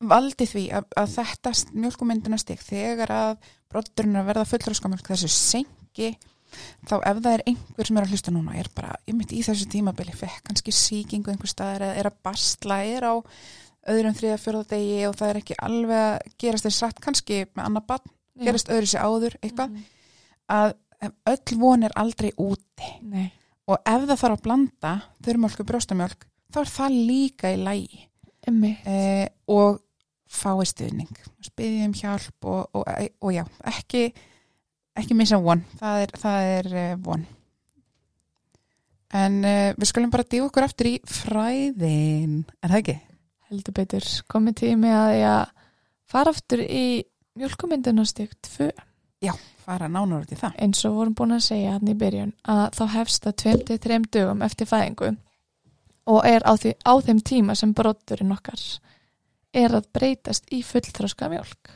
S2: valdi því að, að þetta mjölkumyndina stík þegar að broddurinn er að verða fullróskamjölk þessu senki þá ef það er einhver sem er að hlusta núna er bara, ég myndi í þessu tímabili fekk kannski sýkingu einhver staðar eða er að bastla er á öðrum þriða fjörða degi og það er ekki alveg að gerast þess satt kannski með annað bann,
S1: Já.
S2: gerast öðru sér áður eitthvað
S1: Mhm.
S2: að öll von er aldrei úti
S1: Nei.
S2: og ef það þarf að blanda þurrmjölk og brjóstamjölk þá er það líka í lægi
S1: Emmi.
S2: eh, og fái stuðning spyðið um hjálp og, og, og já, ekki ekki missa von, það er, það er eh, von en eh, við skulum bara dífa okkur aftur í fræðin, er það ekki?
S1: Heldur betur, komið tími að ég að fara aftur í mjölkumyndunastík 2
S2: fara nánar út í það
S1: eins og vorum búin að segja hann í byrjun að þá hefst það 23 dögum eftir fæðingu og er á, því, á þeim tíma sem broturinn okkar er að breytast í fullþroska mjölk.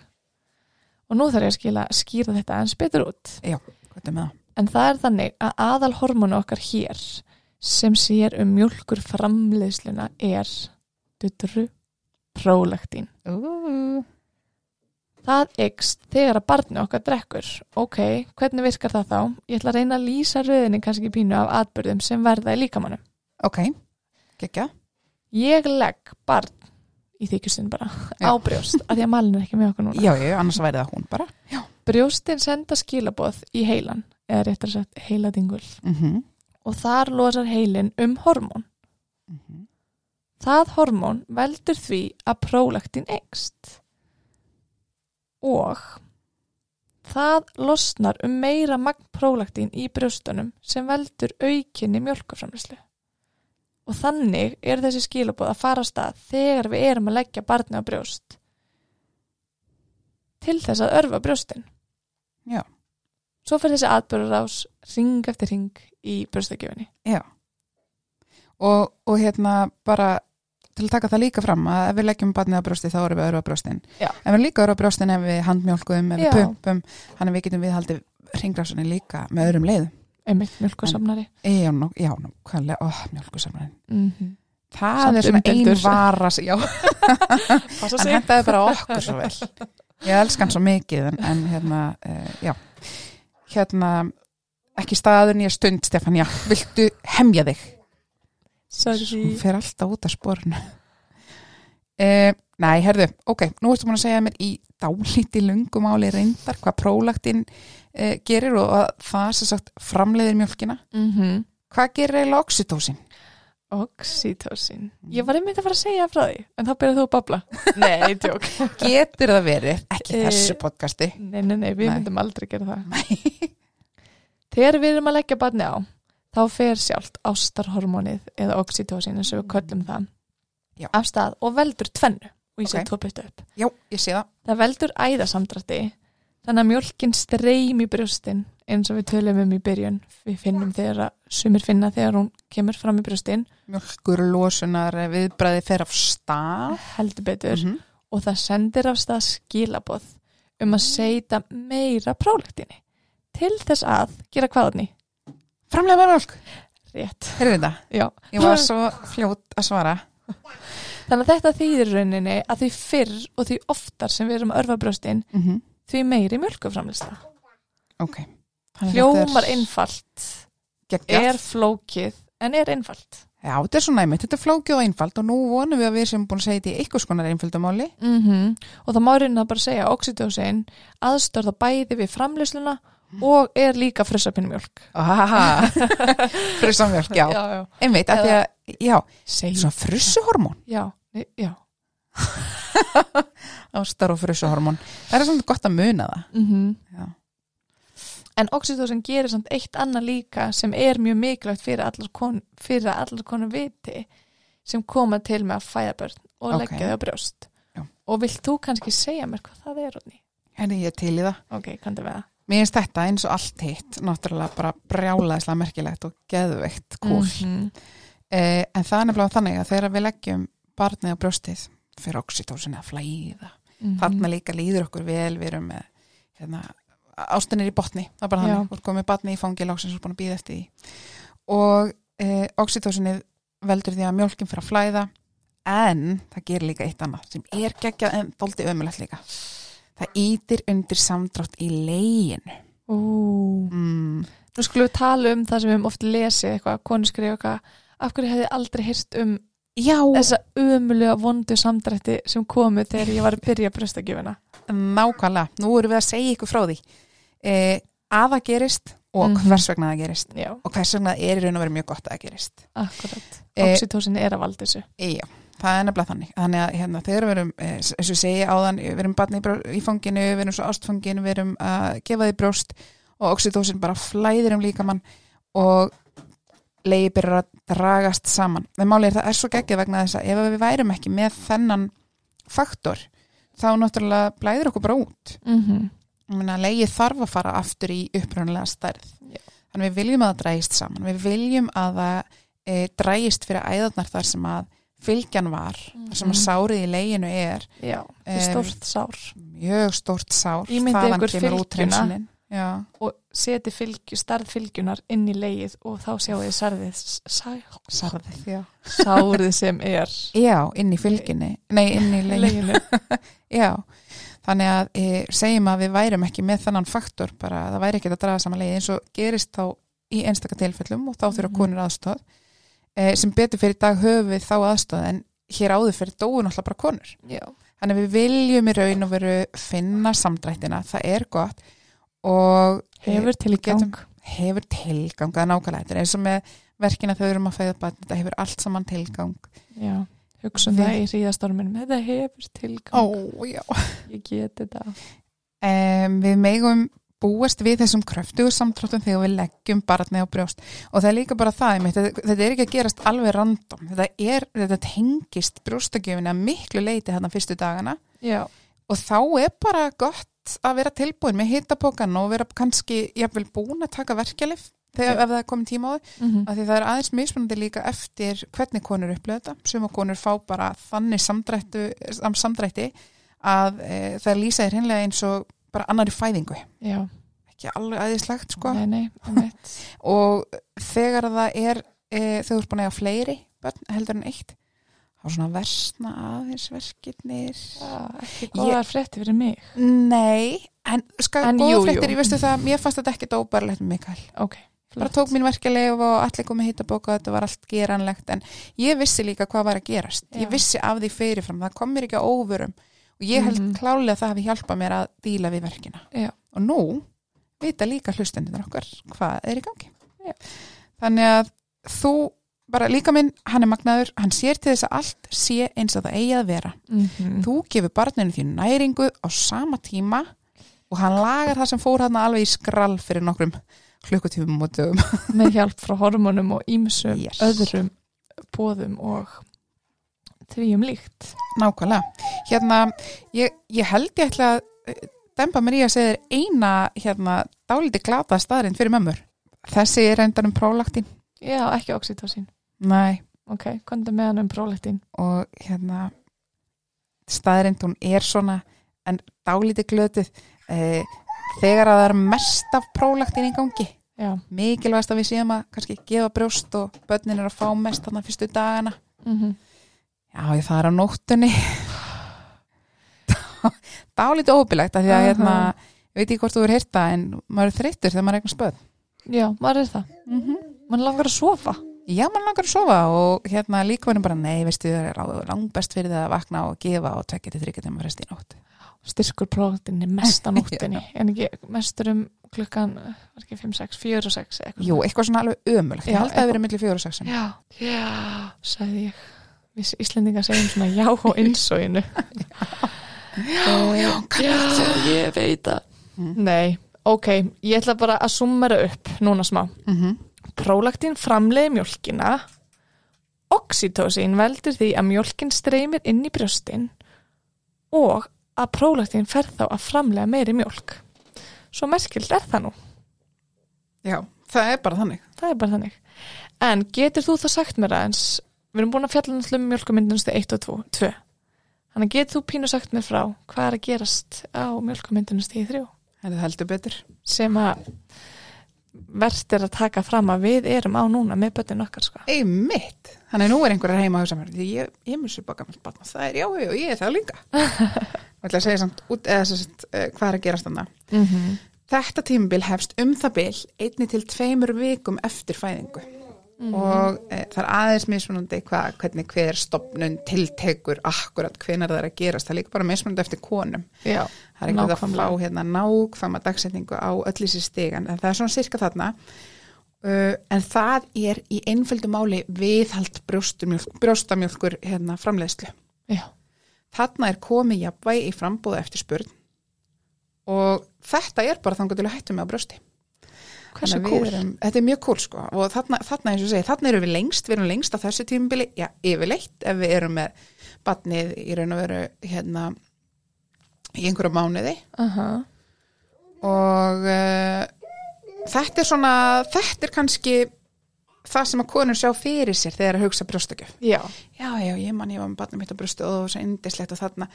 S1: Og nú þarf ég að skila, skýra þetta eins betur út.
S2: hvað er með það?
S1: En það er þannig að aðal hormónu okkar hér sem sér um mjölkur framleiðsluna er dutru prólaktín.
S2: Uh.
S1: Það ekst þegar að barni okkar drekkur. Ok, hvernig virkar það þá? Ég ætla að reyna að lýsa röðinni kannski pínu af atbyrðum sem verða í líkamannum.
S2: ok, gekkja
S1: Ég legg barn í þykjustin bara
S2: Já.
S1: á brjóst af því að malin er ekki með okkur núna.
S2: já, já, annars væri það hún bara
S1: Brjóstin senda skilaboð í heilan eða réttar sagt heiladingul
S2: mm -hmm.
S1: og þar losar heilin um hormón.
S2: Mhm.
S1: Það hormón veldur því að prólaktin engst og það losnar um meira magn prólaktin í brjóstunum sem veldur aukinni mjölkuframlislu. Og þannig er þessi skilabóð að fara af stað þegar við erum að leggja barni á brjóst til þess að örfa brjóstin.
S2: Já.
S1: Svo fyrir þessi atbyrðurás ring eftir ring í brjóstakjöfunni.
S2: og, og hérna bara til að taka það líka fram að ef við leggjum barnið á brjósti þá erum við örfa brjóstin
S1: Já.
S2: en við líka örfa brjóstin ef við handmjólkum ef
S1: Já.
S2: við pumpum, þannig við getum viðhaldið ringrásunni líka með öðrum leið
S1: einmitt mjölkursamnari
S2: já, nú, já, nú, hvaðlega, ó, mjólkusamræðin
S1: mm
S2: það
S1: Samt
S2: er svona ein
S1: umdeildur.
S2: vara já,
S1: Passa
S2: hann
S1: sig
S2: hendaði bara okkur svo vel ég elska hann svo mikið en, en hérna, uh, já hérna, ekki staðun ég stund Stefania, viltu hemja þig
S1: Sorry.
S2: hún fer alltaf út af sporinu uh, nei, herðu ok, nú ertu búin að segja mér í dálíti lungumáli reyndar hvað prólaktin uh, gerir og að það sem sagt framleiðir mjölkina
S1: mm -hmm.
S2: hvað gerir eiginlega oxytósin?
S1: Oxytocin
S2: Mm.
S1: Ég var einmitt að fara að segja frá því En þá byrjar þú að babla Nei, tjók
S2: getur það verið, ekki
S1: Eh,
S2: þessu podcasti
S1: Nei, nei, nei, við
S2: Nei.
S1: myndum aldrei gera það Þegar við erum að leggja barni á þá fer sjálft ástarhormónið eða oxytocin eins og við köllum það
S2: Já.
S1: af stað og veldur tvennu og ég sé
S2: Ok.
S1: tvo bytta upp
S2: já, ég sé það
S1: Það veldur æðasamdrætti þannig að mjólkin streymi brjóstin eins og við tölum um í byrjun við finnum þegar að sumir finna þegar hún kemur fram í brjóstin
S2: mjölkurlósunar viðbræði eh, fer af stað
S1: heldur betur
S2: -hmm.
S1: og það sendir af stað skilaboð um að seita meira prólektinni til þess að gera hvaðanni
S2: framlega með mjölk,
S1: rétt
S2: heyrðu þetta
S1: Já.
S2: ég var svo fljót að svara
S1: þannig að þetta þýðir í rauninni að því fyrr og því oftar sem við erum að örfa brjóstin
S2: mm -hmm.
S1: því meiri mjölkuframlista
S2: ok Þannig Mm, þetta
S1: hljómar
S2: er
S1: einfalt,
S2: geggjað.
S1: er flókið en er einfalt
S2: Já, þetta er svona einmitt, þetta er flókið og einfalt og nú vonum við að við sem búin að segja þetta í einhvers konar einföldumáli.
S1: mm
S2: Mhm.
S1: og það má í rauninni að bara segja að oxytocin aðstörða bæði við framleysluna og er líka frössapinn mjölk
S2: Aha, frussamjölk, já.
S1: já, já.
S2: Einmitt, af því að, já,
S1: Segjum.
S2: svona frussuhormón,
S1: já, nei, já.
S2: ástar og frussuhormón. Það er svona gott að muna það.
S1: Mm
S2: Já.
S1: En oxytocin gerir samt eitt annað líka sem er mjög mikilvægt fyrir allar konur, fyrir að allar konur viti sem koma til með að fæða börn og
S2: Ok.
S1: leggja þau á brjóst.
S2: Já.
S1: Og vilt þú kannski segja mér hvað það er, Róni?
S2: Henni, ég er til í það.
S1: Ok, kanntu með það.
S2: Mér finnst þetta eins og allt hitt, náttúrulega bara brjálaðislega merkilegt og geðveikt kúl.
S1: Mhm.
S2: Eh, en það er nefnilega þannig að þegar við leggjum barnið á brjóstið fyrir oxytósin að flæða,
S1: Mhm.
S2: þarna líka líður okkur vel, við erum með hérna, ástunir í botni, það er bara
S1: Já.
S2: þannig, við komum með batni í fangi láksins og búin að býða eftir því og eh, oxytósinið veldur því að mjólkin fyrir að flæða en það gerir líka eitt annað sem er geggjað en dóldi ömulegt líka það ítir undir samdrátt í leginu
S1: Ú.
S2: mm.
S1: Nú skulum við tala um það sem við höfum oft lesið eitthvað, að konur skrifa eitthvað, af hverju hefði aldrei hýrt um
S2: já,
S1: þessa ömulega vondu samdrætti sem komu þegar ég var að byrja brjóstakjöfuna.
S2: nákvæmlega, nú erum við að segja ykkur frá því eh, að það gerist og
S1: Mhm.
S2: hvers vegna það gerist
S1: Já,
S2: og hvers vegna það er í raun og verið mjög gott að það gerist
S1: akkurat.
S2: Eh,
S1: Oxytocin er að valda þessu.
S2: Já, það er nefnilega þannig. Þannig að hérna, þegar við erum, eh, s- eins og ég segi áðan, við erum barni í brjó- í fanginu, við erum svo ástfanginu, við erum að gefa því brjóst og oxytósin bara flæðir um líkamann og leiði byrjar að dragast saman. Það máli er það er svo geggið vegna þess að ef við værum ekki með þennan faktor, þá náttúrulega blæðir okkur bara út
S1: Mm
S2: leiði þarf að fara aftur í upprunalega stærð
S1: Já.
S2: þannig við viljum að það drægist saman við viljum að það e, drægist fyrir æðarnar þar sem að fylgjan var, þar sem að
S1: Mhm.
S2: sárið í leginu er
S1: Já, það er
S2: Em,
S1: stórt sár
S2: mjög stórt sár
S1: Ímyndið
S2: þaðan
S1: ykkur
S2: kemur
S1: fylgjuna.
S2: úthreinsunin. Já.
S1: og seti fylgju, starð fylgjunar inn í leið og þá sjáu þið sarðið sá,
S2: Sarðið, já.
S1: sárið sem er
S2: já, inn í fylginni nei, inn í leginu
S1: leiðinu
S2: Já, þannig að e, segjum að við værum ekki með þannan faktor bara að það væri ekki að draga saman leið eins og gerist þá í einstaka tilfellum og þá þurfa
S1: Mhm.
S2: konur aðstóð e, sem betur fyrir í dag höfum við þá aðstóð en hér áður fyrir dóun alltaf bara konur.
S1: Já,
S2: Þannig að við viljum í raun og veru finna samdrættina, það er gott og
S1: hefur til í
S2: Getum-
S1: gang
S2: hefur tilgang að nákvæmlega þetta er eins og með verkina þau erum að fæða barn, þetta hefur allt saman tilgang.
S1: Já, hugsun
S2: Við-
S1: það í ríðastorminum þetta hefur tilgang,
S2: já.
S1: ég get þetta
S2: um, við megum búast við þessum kröftugu samtráttum þegar við leggjum barnið á brjóst og það er líka bara það, einmitt, þetta, þetta er ekki að gerast alveg random, þetta, er, þetta tengist brjóstagjöfina miklu leiti þarna fyrstu dagana
S1: Já,
S2: og þá er bara gott að vera tilbúin með hittapokan og vera kannski jafnvel búin að taka verkjalið þegar
S1: Já.
S2: ef það er komin tíma á þau
S1: Mhm.
S2: af því það er aðeins mismunandi líka eftir hvernig konur upplöða þetta, suma konur fá bara þannig samdrættu, sam- samdrætti að e, það lýsa þér hinnlega eins og bara annari fæðingu
S1: Já,
S2: ekki alveg aðeinslegt sko
S1: nei, nei, einmitt.
S2: og þegar það er e, þegar þú ert búin að eiga fleiri börn heldur en eitt þá svona versna aðeins verkirnir
S1: Ah, ekki góðar frétti fyrir mig.
S2: nei, en sko
S1: En jú,
S2: góða
S1: jú.
S2: fréttir, ég veistu það mér fannst þetta ekki dóbarlegt með Mikael
S1: Ok,
S2: bara tók mín verkefleif og allir komið hitt að bóka þetta var allt geranlegt en ég vissi líka hvað var að gerast
S1: Já.
S2: ég vissi af því fyrirfram, það kom mér ekki á óvörum og ég held
S1: Mhm.
S2: klálega að það hafi hjálpað mér að díla við verkina
S1: Já.
S2: og nú vita líka hlustendur okkar hvað er í gangi
S1: Já.
S2: þannig að þú bara líka minn, hann er magnaður hann sér til þess að allt sé eins og það eigi að vera
S1: Mm
S2: þú gefur barninu þínu næringu á sama tíma og hann lagar það sem fór hann alveg í skrall fyrir nokkrum klukkutífum og dögum
S1: Með hjálp frá hormónum og ímsum,
S2: Yes.
S1: öðrum, bóðum og tvíum líkt.
S2: Nákvæmlega. Hérna, ég, ég held ég ætla að eh, dempa mér í að segja þér eina hérna, dálítið glata staðarinn fyrir mömmur. Þessi er reyndar um prólaktin.
S1: Já, ekki oxytosín.
S2: Næ,
S1: Ok, hvernig er með hann um prólættin?
S2: og hérna, staðarinn hún er svona, en dálítið glötuð. Eh, þegar að það er mest af prólaktin í gangi,
S1: Já.
S2: mikilvægast að við séum að kannski gefa brjóst og börnin er að fá mest þarna fyrstu dagana.
S1: Mm
S2: Já, ég það er á nóttunni Dálítið óhupilegt af því að
S1: Aha.
S2: hérna, ég veit ekki hvort þú er heyrta en maður er þreyttur þegar maður er eitthvað spöð
S1: Já, maður er það.
S2: mm -hmm.
S1: Man langar að sofa.
S2: Já, maður langar að sofa og hérna líka verðum bara nei, veistu, það er ráðu langbest fyrir það að vakna og gefa og tvekja til þryggja þegar maður resti í nótt
S1: Styrkur prólættinni mest á nóttinni. en ekki mestur um klukkan, eh, var ekki 5, 6, 4 og 6 eitthvað.
S2: Jú, eitthvað svona alveg ömulegt, ég
S1: Já,
S2: held að það hafi verið milli fjóru og sexin
S1: Já, já, sagði ég. Við Íslendingar segjum svona já og innsóinu. já, já, já, ég veit það.
S2: Mm.
S1: Nei, ok, ég ætla bara að summera upp núna smá.
S2: mm -hmm.
S1: Prólaktin framleiði mjólkina, oxytosin veldur því að mjólkin streymir inn í brjóstin og að prólaktin fer þá að framleiða meiri mjólk. Svo merkild er það nú.
S2: Já, það er bara þannig
S1: það er bara þannig en getur þú þá sagt mér aðeins við erum búin að fjalla náttúrulega um mjölkumyndunustu 1 og 2 2. þannig getur þú pínu sagt mér frá hvað er að gerast á mjölkumyndunustu 3
S2: Það heldur betur
S1: sem að verðt er að taka fram að við erum á núna með bötin okkar sko.
S2: Einmitt, þannig að nú er einhverjar heima að hugsa mér, ég, ég mun sér baka með batna, það er já, já, já, ég er það líka og ætla að segja samt út eða sérst, hvað er að gerast þannig
S1: mm -hmm.
S2: Þetta tímabil hefst um það bil einni til tveimur vikum eftir fæðingu og e, það er aðeins mismunandi hvað, hvernig hver stopnun tiltekur akkurat hvenar það er að gerast, það er líka bara mismunandi eftir konum
S1: já,
S2: það er ekki hægt að
S1: nákvæmlega.
S2: fá hérna nákvæma dagsetningu á öll þessi stegan en það er svona sirka þarna uh, en það er í einföldu máli viðhald brjóstamjólk, brjóstamjólkur hérna framleiðslu
S1: já,
S2: þarna er komið jafnvægi í frambúða eftir spurn og þetta er bara þangur til að hættu með á brjósti
S1: hversu
S2: Þannig að
S1: kúl
S2: við erum, þetta er mjög kúl sko og þarna, þarna eins og ég segi, þarna erum við lengst við erum lengst á þessu tímubili, já, yfirleitt ef við erum með batnið í raun og veru hérna í einhverja mánuði
S1: uh -huh.
S2: og uh, þetta er svona þetta er kannski það sem að konur sjá fyrir sér þegar að hugsa brjóstakjöf
S1: já,
S2: já, já, ég man ég var með barnum mitt á brjóstu og það var svo indislegt og þarna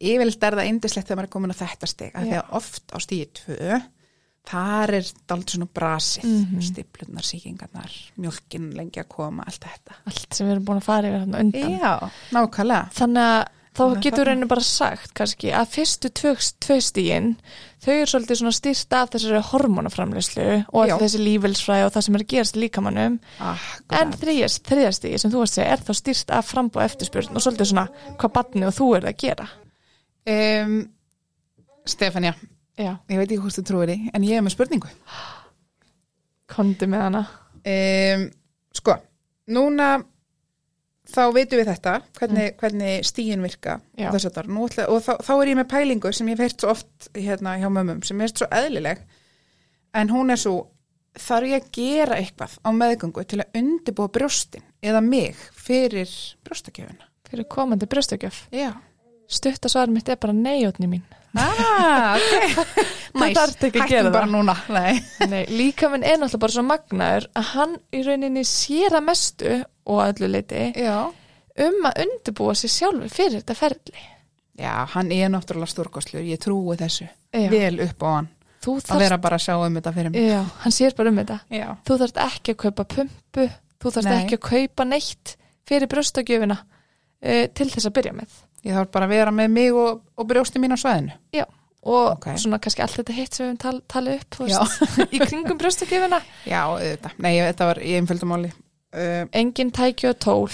S2: yfirleitt er það indislegt þegar maður er komin á þetta stig af því að oft á stíði tvö þar er dalt svona brasið mm
S1: Mhm.
S2: stiflunar, sýkingarnar, mjölkin lengi að koma, allt þetta
S1: allt sem við erum búin að fara yfir hann undan
S2: já, nákvæmlega
S1: þannig að
S2: Þannig
S1: þá
S2: að
S1: getur
S2: þarna-
S1: einu bara sagt kannski að fyrstu tvö, tvö stígin þau eru svolítið svona stýrt af þessari hormonaframleyslu og
S2: Já.
S1: allir þessi lífelsfræði og það sem er að gerast í líkamannum en
S2: akkurat,
S1: þriðjast, þriðjastígi sem þú varst að segja er þá stýrt af frambúð og eftirspurn og svolítið svona hvað batni og þú er að gera
S2: um, Stefania
S1: Já,
S2: ég veit ekki hvort þú trúir því, en ég er með spurningu
S1: kondi með hana
S2: um, sko, núna þá veitum við þetta hvernig, hvernig stíin virka
S1: Mm. Já.
S2: og, þess háttar. Nú ætla, og þá, þá er ég með pælingu sem ég hef heyrt svo oft hérna hjá mömmum sem er svo eðlileg en hún er svo þarf ég að gera eitthvað á meðgöngu til að undibúa brjóstin eða mig fyrir brjóstakjöfuna
S1: fyrir komandi brjóstökjöf
S2: Já,
S1: Stutta svar mitt er bara neyjótni mín
S2: Ah, ok.
S1: Þú þarft ekki að gera
S2: Hættum bara
S1: það.
S2: núna. Nei.
S1: Nei, líkaminn er náttúrulega bara svo magnaður að hann í rauninni sér að mestu og að öllu leiti
S2: Já.
S1: um að undirbúa sér sjálfur fyrir þetta ferli.
S2: Já, hann er náttúrulega stórkostlur, ég trúi þessu.
S1: Já.
S2: Vel upp á hann.
S1: Þú
S2: Að
S1: þarft,
S2: vera bara að sjá um þetta fyrir mig.
S1: já, hann sér bara um þetta.
S2: Já.
S1: Þú þarft ekki að kaupa pumpu, þú þarft
S2: Nei.
S1: ekki að kaupa neitt fyrir brjóstagjöfina uh, til þess að byrja með.
S2: Ég þarf bara að vera með mig og, og brjósti mín á svæðinu.
S1: Já, og
S2: Ok.
S1: svona kannski allt þetta hitt sem við höfum tal, talið upp, þú veist, í kringum brjóstagjöfina.
S2: Já, auðvitað. Nei, ég- þetta var í einföldu máli. Uh,
S1: engin tæki og tól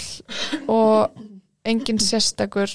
S1: og engin sérstakur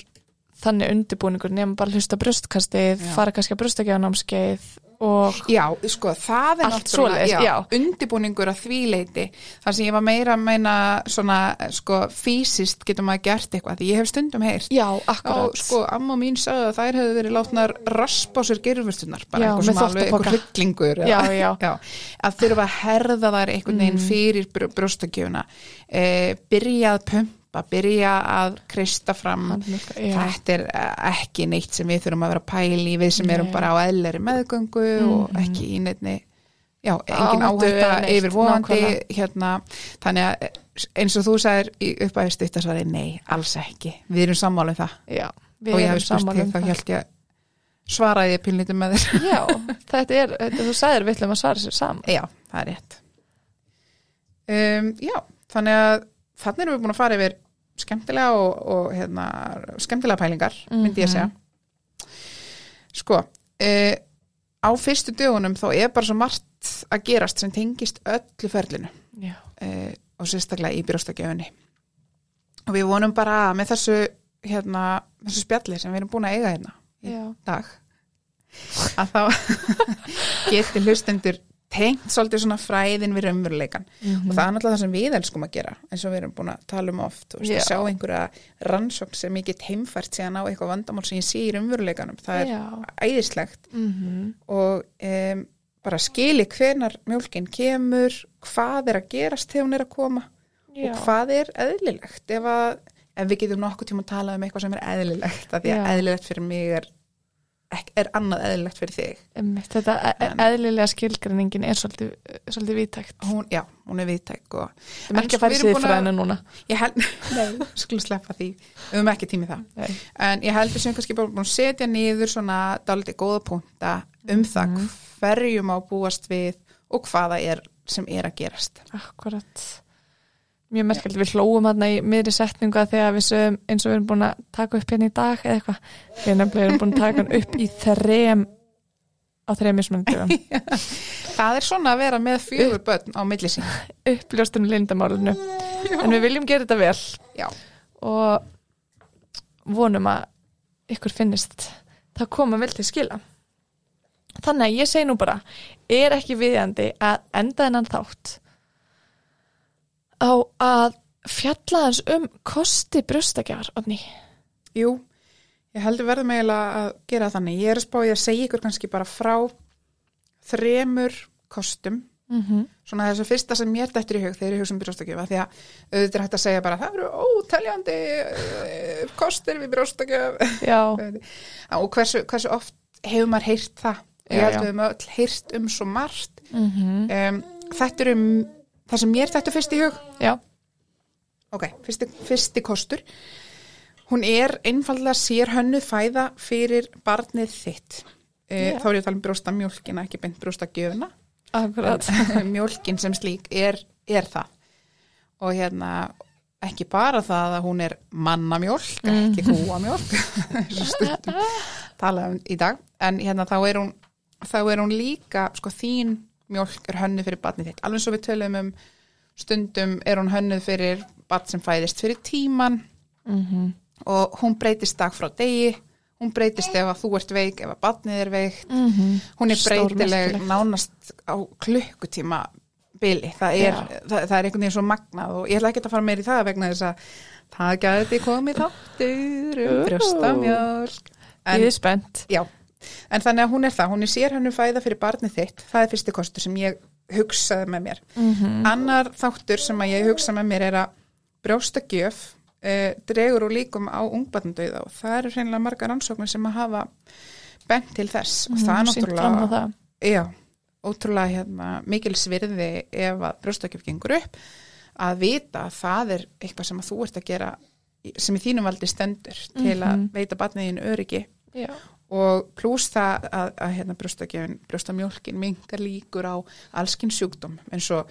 S1: þannig undirbúningur nefnum bara hlusta á brjóstkastið,
S2: Já.
S1: fara kannski að brjóstakjánámskeið og
S2: já, sko, það er
S1: Allt
S2: náttúrulega
S1: svoleiðis,
S2: já,
S1: já.
S2: undibúningur að því leiti. Þar sem ég var meira að meina svona, sko, fysiskt getur maður gert eitthvað. Því ég hef stundum heyrt.
S1: já,
S2: Já,
S1: akkurat
S2: sko, amma mín sagði að þær hefðu verið látnar raspa á sér gerfustunar, bara
S1: Já,
S2: eitthvað
S1: með
S2: sem alveg
S1: þvottapoka.
S2: eitthvað hryllingur. eða-
S1: Já, já. Mm.
S2: Að þurfa að herða þær einhvern veginn fyrir br brjóstakjöfuna, e, byrja að pumpa, byrja að kreista fram.
S1: Handmjólka, já.
S2: Þetta er eh, ekki neitt sem við þurfum að vera að pæla í, við sem erum
S1: Nei. Mm.
S2: bara á eðleri meðgöngu og ekki í neittni. Já, engin
S1: Áhættu eða
S2: áhætta
S1: neitt,
S2: yfirvóandi
S1: nákvæmlega.
S2: hérna, þannig að eh, eins og þú sagðir í uppæði stuttasvari, nei, alls ekki við erum sammála um það
S1: já,
S2: og
S1: við
S2: ég
S1: erum
S2: hef spurt
S1: saman
S2: þig
S1: um
S2: þá
S1: það
S2: held ég að svaraði ég pínlítið með þér
S1: já, þetta er, þetta, þú sagðir við ætlum að svara sér saman
S2: já, það er rétt um, já, þannig að þannig erum við búin að fara yfir skemmtilega og, og hérna, skemmtilega pælingar myndi ég að segja sko uh, á fyrstu dögunum þá er bara svo margt að gerast sem tengist öllu ferlinu
S1: já,
S2: uh, og sérstaklega í brjóstakjöfunni og við vonum bara að með þessu hérna, þessu spjalli sem við erum búin að eiga hérna í
S1: Já.
S2: dag að þá geti hlustendur tengt svolítið svona fræðin við raunveruleikan
S1: Mhm.
S2: og það er náttúrulega það sem við elskum að gera eins og við erum búin að tala um oft þú veist,
S1: Já.
S2: að sjá einhverja rannsókn sem ég get heimfært síðan á eitthvað vandamál sem ég sé í raunveruleikanum það er
S1: já,
S2: æðislegt
S1: mhm,
S2: og um, bara skili hvenar mjólkin kemur, hvað er að gerast þegar hún er að koma
S1: já
S2: og hvað er eðlilegt ef, að, ef við getum nokkuð tíma að tala um eitthvað sem er eðlilegt af því að
S1: Já.
S2: eðlilegt fyrir mig er, ek- er annað eðlilegt fyrir þig
S1: einmitt, þetta e-
S2: En-
S1: eðlilega skilgreiningin er svolítið, svolítið vítækt
S2: hún, já, hún er viðtæk og
S1: við erum
S2: En
S1: ekki að
S2: sko,
S1: fara í
S2: við erum búin að-
S1: siðfræðinu núna
S2: ég held, nei, skulum sleppa því við höfum ekki tími í það
S1: Nei.
S2: en ég held þessum kannski bara búin að setja niður svona dálítið góða púnta um það
S1: Mhm.
S2: hverju má búast við og hvaða er sem er að gerast
S1: Akkurat. Mjög merkjöld, við hlóum hérna í miðri setningu að þegar við sögum eins og við erum búin að taka upp hérna í dag eða eitthvað. Við nefnilega erum búin að taka hann upp í þrem á þrem mismunandum.
S2: það er svona að vera með fjögur börn á milli sín
S1: Uppljóstum lindamálinu. En við viljum gera þetta vel
S2: já,
S1: og vonum að ykkur finnist það koma vel til skila. Þannig að ég segi nú bara, er ekki viðjandi að enda þennan þátt á að fjalla hans um kosti brjóstagjafar, Odni.
S2: jú ég heldur verðum eiginlega að gera þannig ég er að spá ég að segja ykkur kannski bara frá þremur kostum
S1: Mm -hmm.
S2: svona þessu fyrsta sem mér dættur í hug þegar ég hugsa um brjóstakjöfa því að auðvitað er hægt að segja bara það eru óteljandi eh, kostir við brjóstakjöf
S1: Já,
S2: og hversu, hversu oft hefur maður heyrt það
S1: Já,
S2: ég held
S1: já.
S2: við höfum öll heyrt um svo margt
S1: mm -hmm.
S2: um, þetta eru m- það sem mér dættur fyrst í hug
S1: já,
S2: Ok, fyrsti, fyrsti kostur. Hún er einfallega sérhönnuð fæða fyrir barnið þitt.
S1: Já.
S2: Yeah. Þá er ég að tala um brjósta mjólkina, ekki beint brjósta gjöfuna.
S1: akkurat.
S2: Mjólkin sem slík er, er það. Og hérna, ekki bara það að hún er mannamjólk, ekki kúamjólk, eins og stundum tala um í dag. En hérna, þá er hún, þá er hún líka, sko, þín mjólk er hönnuð fyrir barnið þitt. Alveg svo við tölum um stundum er hún hönnuð fyrir barn sem fæðist fyrir tíman
S1: Mhm.
S2: og hún breytist dag frá degi hún breytist ef að þú ert veik ef að barnið er veikt
S1: Mhm.
S2: hún er breytileg
S1: Stórmerkilegt.
S2: nánast á klukkutíma bili, það er,
S1: Já.
S2: það, það er einhvern veginn svo magnað og ég ætla ekki að fara meir í það vegna þess að það gæti komið þáttur um
S1: Ú.
S2: brjóstamjálk
S1: Ég er spennt.
S2: Já, en þannig að hún er það, hún er sérhönnu fæða fyrir barnið þitt, það er fyrsti kostur sem ég hugsaði með mér.
S1: Mhm.
S2: Annar þáttur sem að ég hugsa með mér er að brjóstagjöf eh, uh, dregur úr líkum á ungbarnadauða og það eru hreinlega margar rannsóknir sem að hafa bent til þess og
S1: Hún
S2: það
S1: hefur
S2: er
S1: Mm, sýnt fram á
S2: náttúrulega
S1: það.
S2: já, ótrúlega hérna, mikil svirði ef að brjóstakjöf gengur upp að vita að það er eitthvað sem að þú ert að gera í- sem í þínum valdi stendur til að
S1: Mhm.
S2: veita batniðin öryggi
S1: Já.
S2: og pluss það að, að hérna, brjóstakjöfin, brjóstamjólkin mingar líkur á allskinn sjúkdóm eins og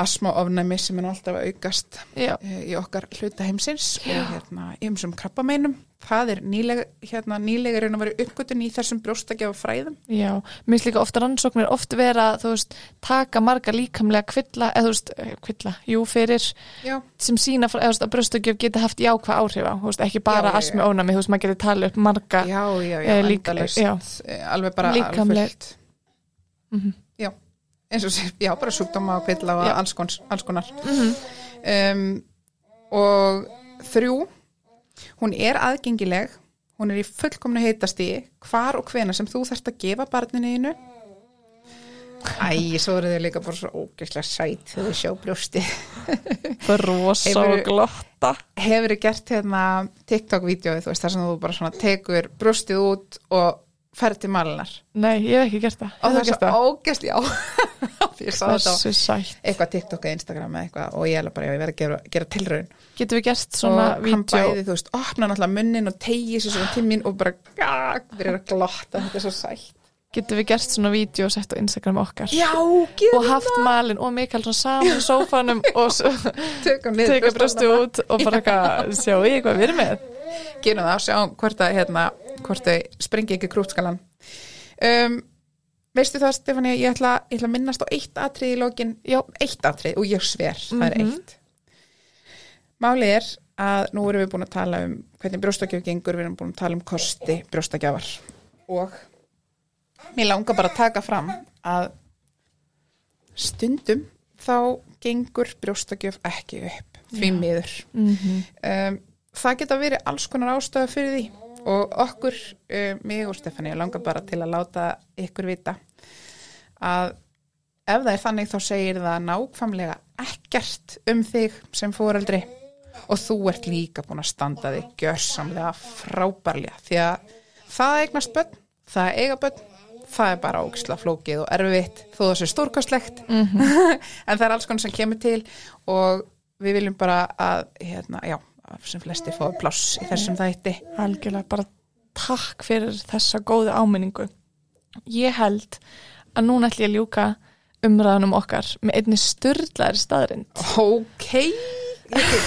S2: asmaofnæmi sem er nú alltaf að aukast
S1: Já.
S2: eh, í okkar hluta heimsins og hérna ymsum krabbameinum það er nýlega, hérna, nýlega raun að vera uppgötun í þessum brjóstakjöfa fræðum
S1: Já, mér finnst líka ofta rannsóknir oft vera, þú veist, taka marga líkamlega kvilla, eða þú veist, eh, kvilla, jú, fyrir,
S2: Já,
S1: sem sína, eða þú veist, að bröstugjöf geta haft jákvæð áhrif á, þú veist, ekki bara
S2: Já, já, já.
S1: asmi ónami, þú veist, maður getur talið upp marga.
S2: já, já, já,
S1: Eh, líka-
S2: endalaust,
S1: já.
S2: eh, alveg bara
S1: Líkamlegt.
S2: alfullt.
S1: Mhm.
S2: Já, eins og sér, já, bara sjúkdóma og kvilla og
S1: Já.
S2: alls, kons, alls konar
S1: Mhm.
S2: um, og þrjú hún er aðgengileg hún er í fullkomnu heitasti hvar og hvena sem þú þarft að gefa barninu innu Æ, svo eru þau líka bara svo ógeðslega sæt þegar þau sjá brjósti
S1: Rosa og
S2: Hefurðu-
S1: glotta.
S2: hefur þið gert hérna TikTok-vídeóið, þú veist, þar sem þú bara svona tekur brjóstið út og ferð til malunar.
S1: Nei, ég hef ekki gert það.
S2: Og
S1: Hefur
S2: það
S1: þú
S2: er
S1: gert
S2: svo
S1: það?
S2: ógæst, já. ég sá þetta á
S1: Þessu sætt.
S2: eitthvað TikTok eða Instagram eða eitthvað og ég er alveg bara, já, ég verð að gera, gera tilraun.
S1: Getum við gert svona
S2: og hann
S1: vídeo?
S2: bæði, þú veist, opna náttúrulega munnin og tegi sér svona til mín og bara gag, byrjar að glotta, þetta er svo sætt.
S1: Getum við gert svona vídeo og sett á Instagram okkar?
S2: Já, gerum
S1: Og haft malin og Mikael svona saman í sófanum og s-
S2: tökum niður
S1: teka
S2: brjóstið.
S1: bröstu út og bara eitthvað, sjá ég hvað við erum með.
S2: gerum það, sjáum hvort að hérna, hvort þau springi ekki krútskalan um, veistu það Stefania, ég ætla, ég ætla að minnast á eitt atrið í lokin, já, eitt atrið og ég sver, það er
S1: Mhm.
S2: eitt málið er að nú erum við búin að tala um hvernig brjóstakjöf gengur, við erum búin að tala um kosti brjóstakjafar og mér langar bara að taka fram að stundum þá gengur brjóstakjöf ekki upp, því miður
S1: Mhm.
S2: um, það geta verið alls konar ástöða fyrir því og okkur, um, mig og Stefani langar bara til að láta ykkur vita að ef það er þannig þá segir það nákvæmlega ekkert um þig sem fóreldri og þú ert líka búin að standa þig gjörsamlega frábærlega því að það að eignast börn, það að eiga börn það er bara ógisla flókið og erfitt þó það sé stórkastlegt en það er alls konar sem kemur til og við viljum bara að hérna, já, að sem flesti fá pláss í þessum þætti
S1: Algjörlega bara takk fyrir þessa góðu áminningu. Ég held að núna ætlum ég að ljúka umræðunum okkar með einni styrlaðri staðrind.
S2: ok ég til,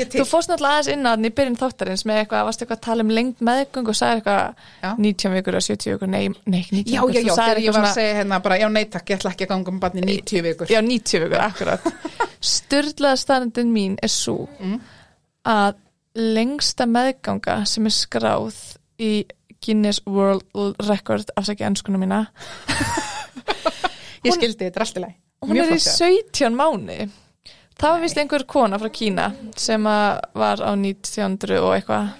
S2: ég
S1: Þú fórst náttúrulega aðeins inn á þannig í byrjun þáttarins með eitthvað, varst eitthvað að tala um lengt meðgöngu og sagði
S2: Já.
S1: eitthvað 19 vikur og 70 vikur, nei, nei, ekki 19
S2: já,
S1: vikur.
S2: já, já,
S1: Þú sagðir eitthvað
S2: þegar ég var að
S1: svona-
S2: segja hérna bara, já, nei takk, ég ætla ekki að ganga um barni 90 vikur
S1: Já, 90 vikur, akkurat. Sturlaða staðrindin mín er svo
S2: Mm.
S1: að lengsta meðganga sem er skráð í Guinness World Record, afsækja enskuna mína,
S2: ég skildi þetta rastileg
S1: hún er í 17 mánu. Það var vist einhver kona frá Kína sem að var á 1900 og eitthvað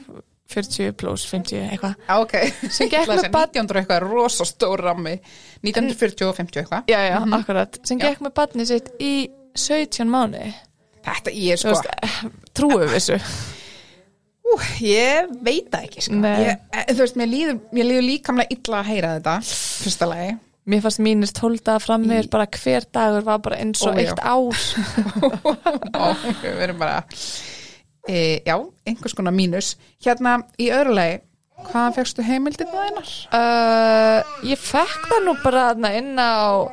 S1: 40 plus 50 eitthvað.
S2: ok,
S1: Sem
S2: Ég ætla að
S1: gekk með
S2: segja,
S1: barn-
S2: 1900 eitthvað, rosa stór rammi 1940 og 50 eitthvað
S1: Já, já, akkurat. Sem gekk með barnið sitt í 17 mánu.
S2: þetta ég er
S1: Þú
S2: sko,
S1: veist, eh, trúum við þessu.
S2: ú, ég veit það ekki sko.
S1: Nei.
S2: ég, eh, þú veist, mér líður, mér líður líkamlega illa að heyra þetta fyrsta lagi
S1: Mér fannst mínir tólda frammeður bara hver dagur var bara eins og
S2: Ó, já.
S1: eitt ár.
S2: Já, við erum bara e, Já, einhvers konar mínus Hérna í öðru lagi Hvaðan fegstu heimildið það einar?
S1: Uh, ég fekk það nú bara þarna inn á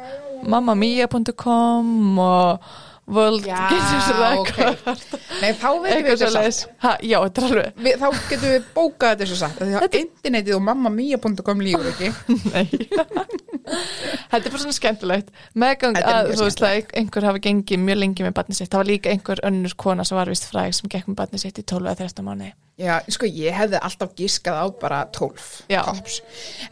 S1: mamamia.com og World Guinness Record.
S2: Nei, þá veitum við
S1: Eitthvað
S2: þetta
S1: svo
S2: satt
S1: leis. Já, þetta er alveg.
S2: við, Þá getum við bókað þetta svo satt Því að internetið og mammamia.com lífur ekki
S1: Nei. þetta er bara svona skemmtilegt. Meðgang
S2: Þetta er
S1: að
S2: mjög
S1: þú veist að einhver hafi gengið mjög lengi með barnið sitt. Það var líka einhver önnur kona sem var vist fræg sem gekk með barnið sitt í 12 eða 13 mánuði.
S2: Já, sko, ég hefði alltaf gískað á bara 12
S1: Já.
S2: tops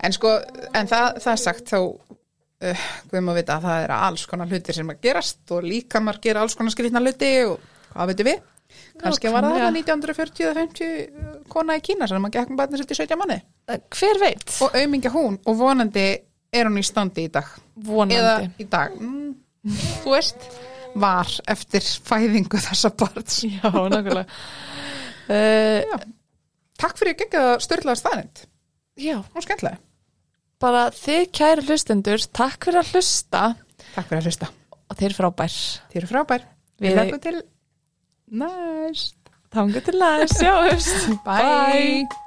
S2: En sko, en það, það er sagt þá uh, Við má vita að það er alls konar hlutir sem að gerast og líka maður gera alls konar skrifna hluti og hvað veitum við? Kannski var það
S1: Nákvæmlega.
S2: þarna 1940 eða 50 kona í Kína sem að gekk um barnið sitt í 17 manni
S1: Eh, Hver veit?
S2: og aumingja hún og vonandi er hún í standi í dag
S1: Vonandi.
S2: eða í dag mm, þú veist var eftir fæðingu þessa barns
S1: Já, nákvæmlega. Eh, Uh,
S2: Takk fyrir að gegja það störlaða staðnind
S1: já,
S2: hún skemmtilega
S1: bara þið kæri hlustendur, takk fyrir að hlusta
S2: Takk fyrir að hlusta.
S1: og þeir frábær.
S2: Þið eru frábær.
S1: Við-
S2: Við lakkum til næst.
S1: Þangu til að sjáumst.
S2: Bye.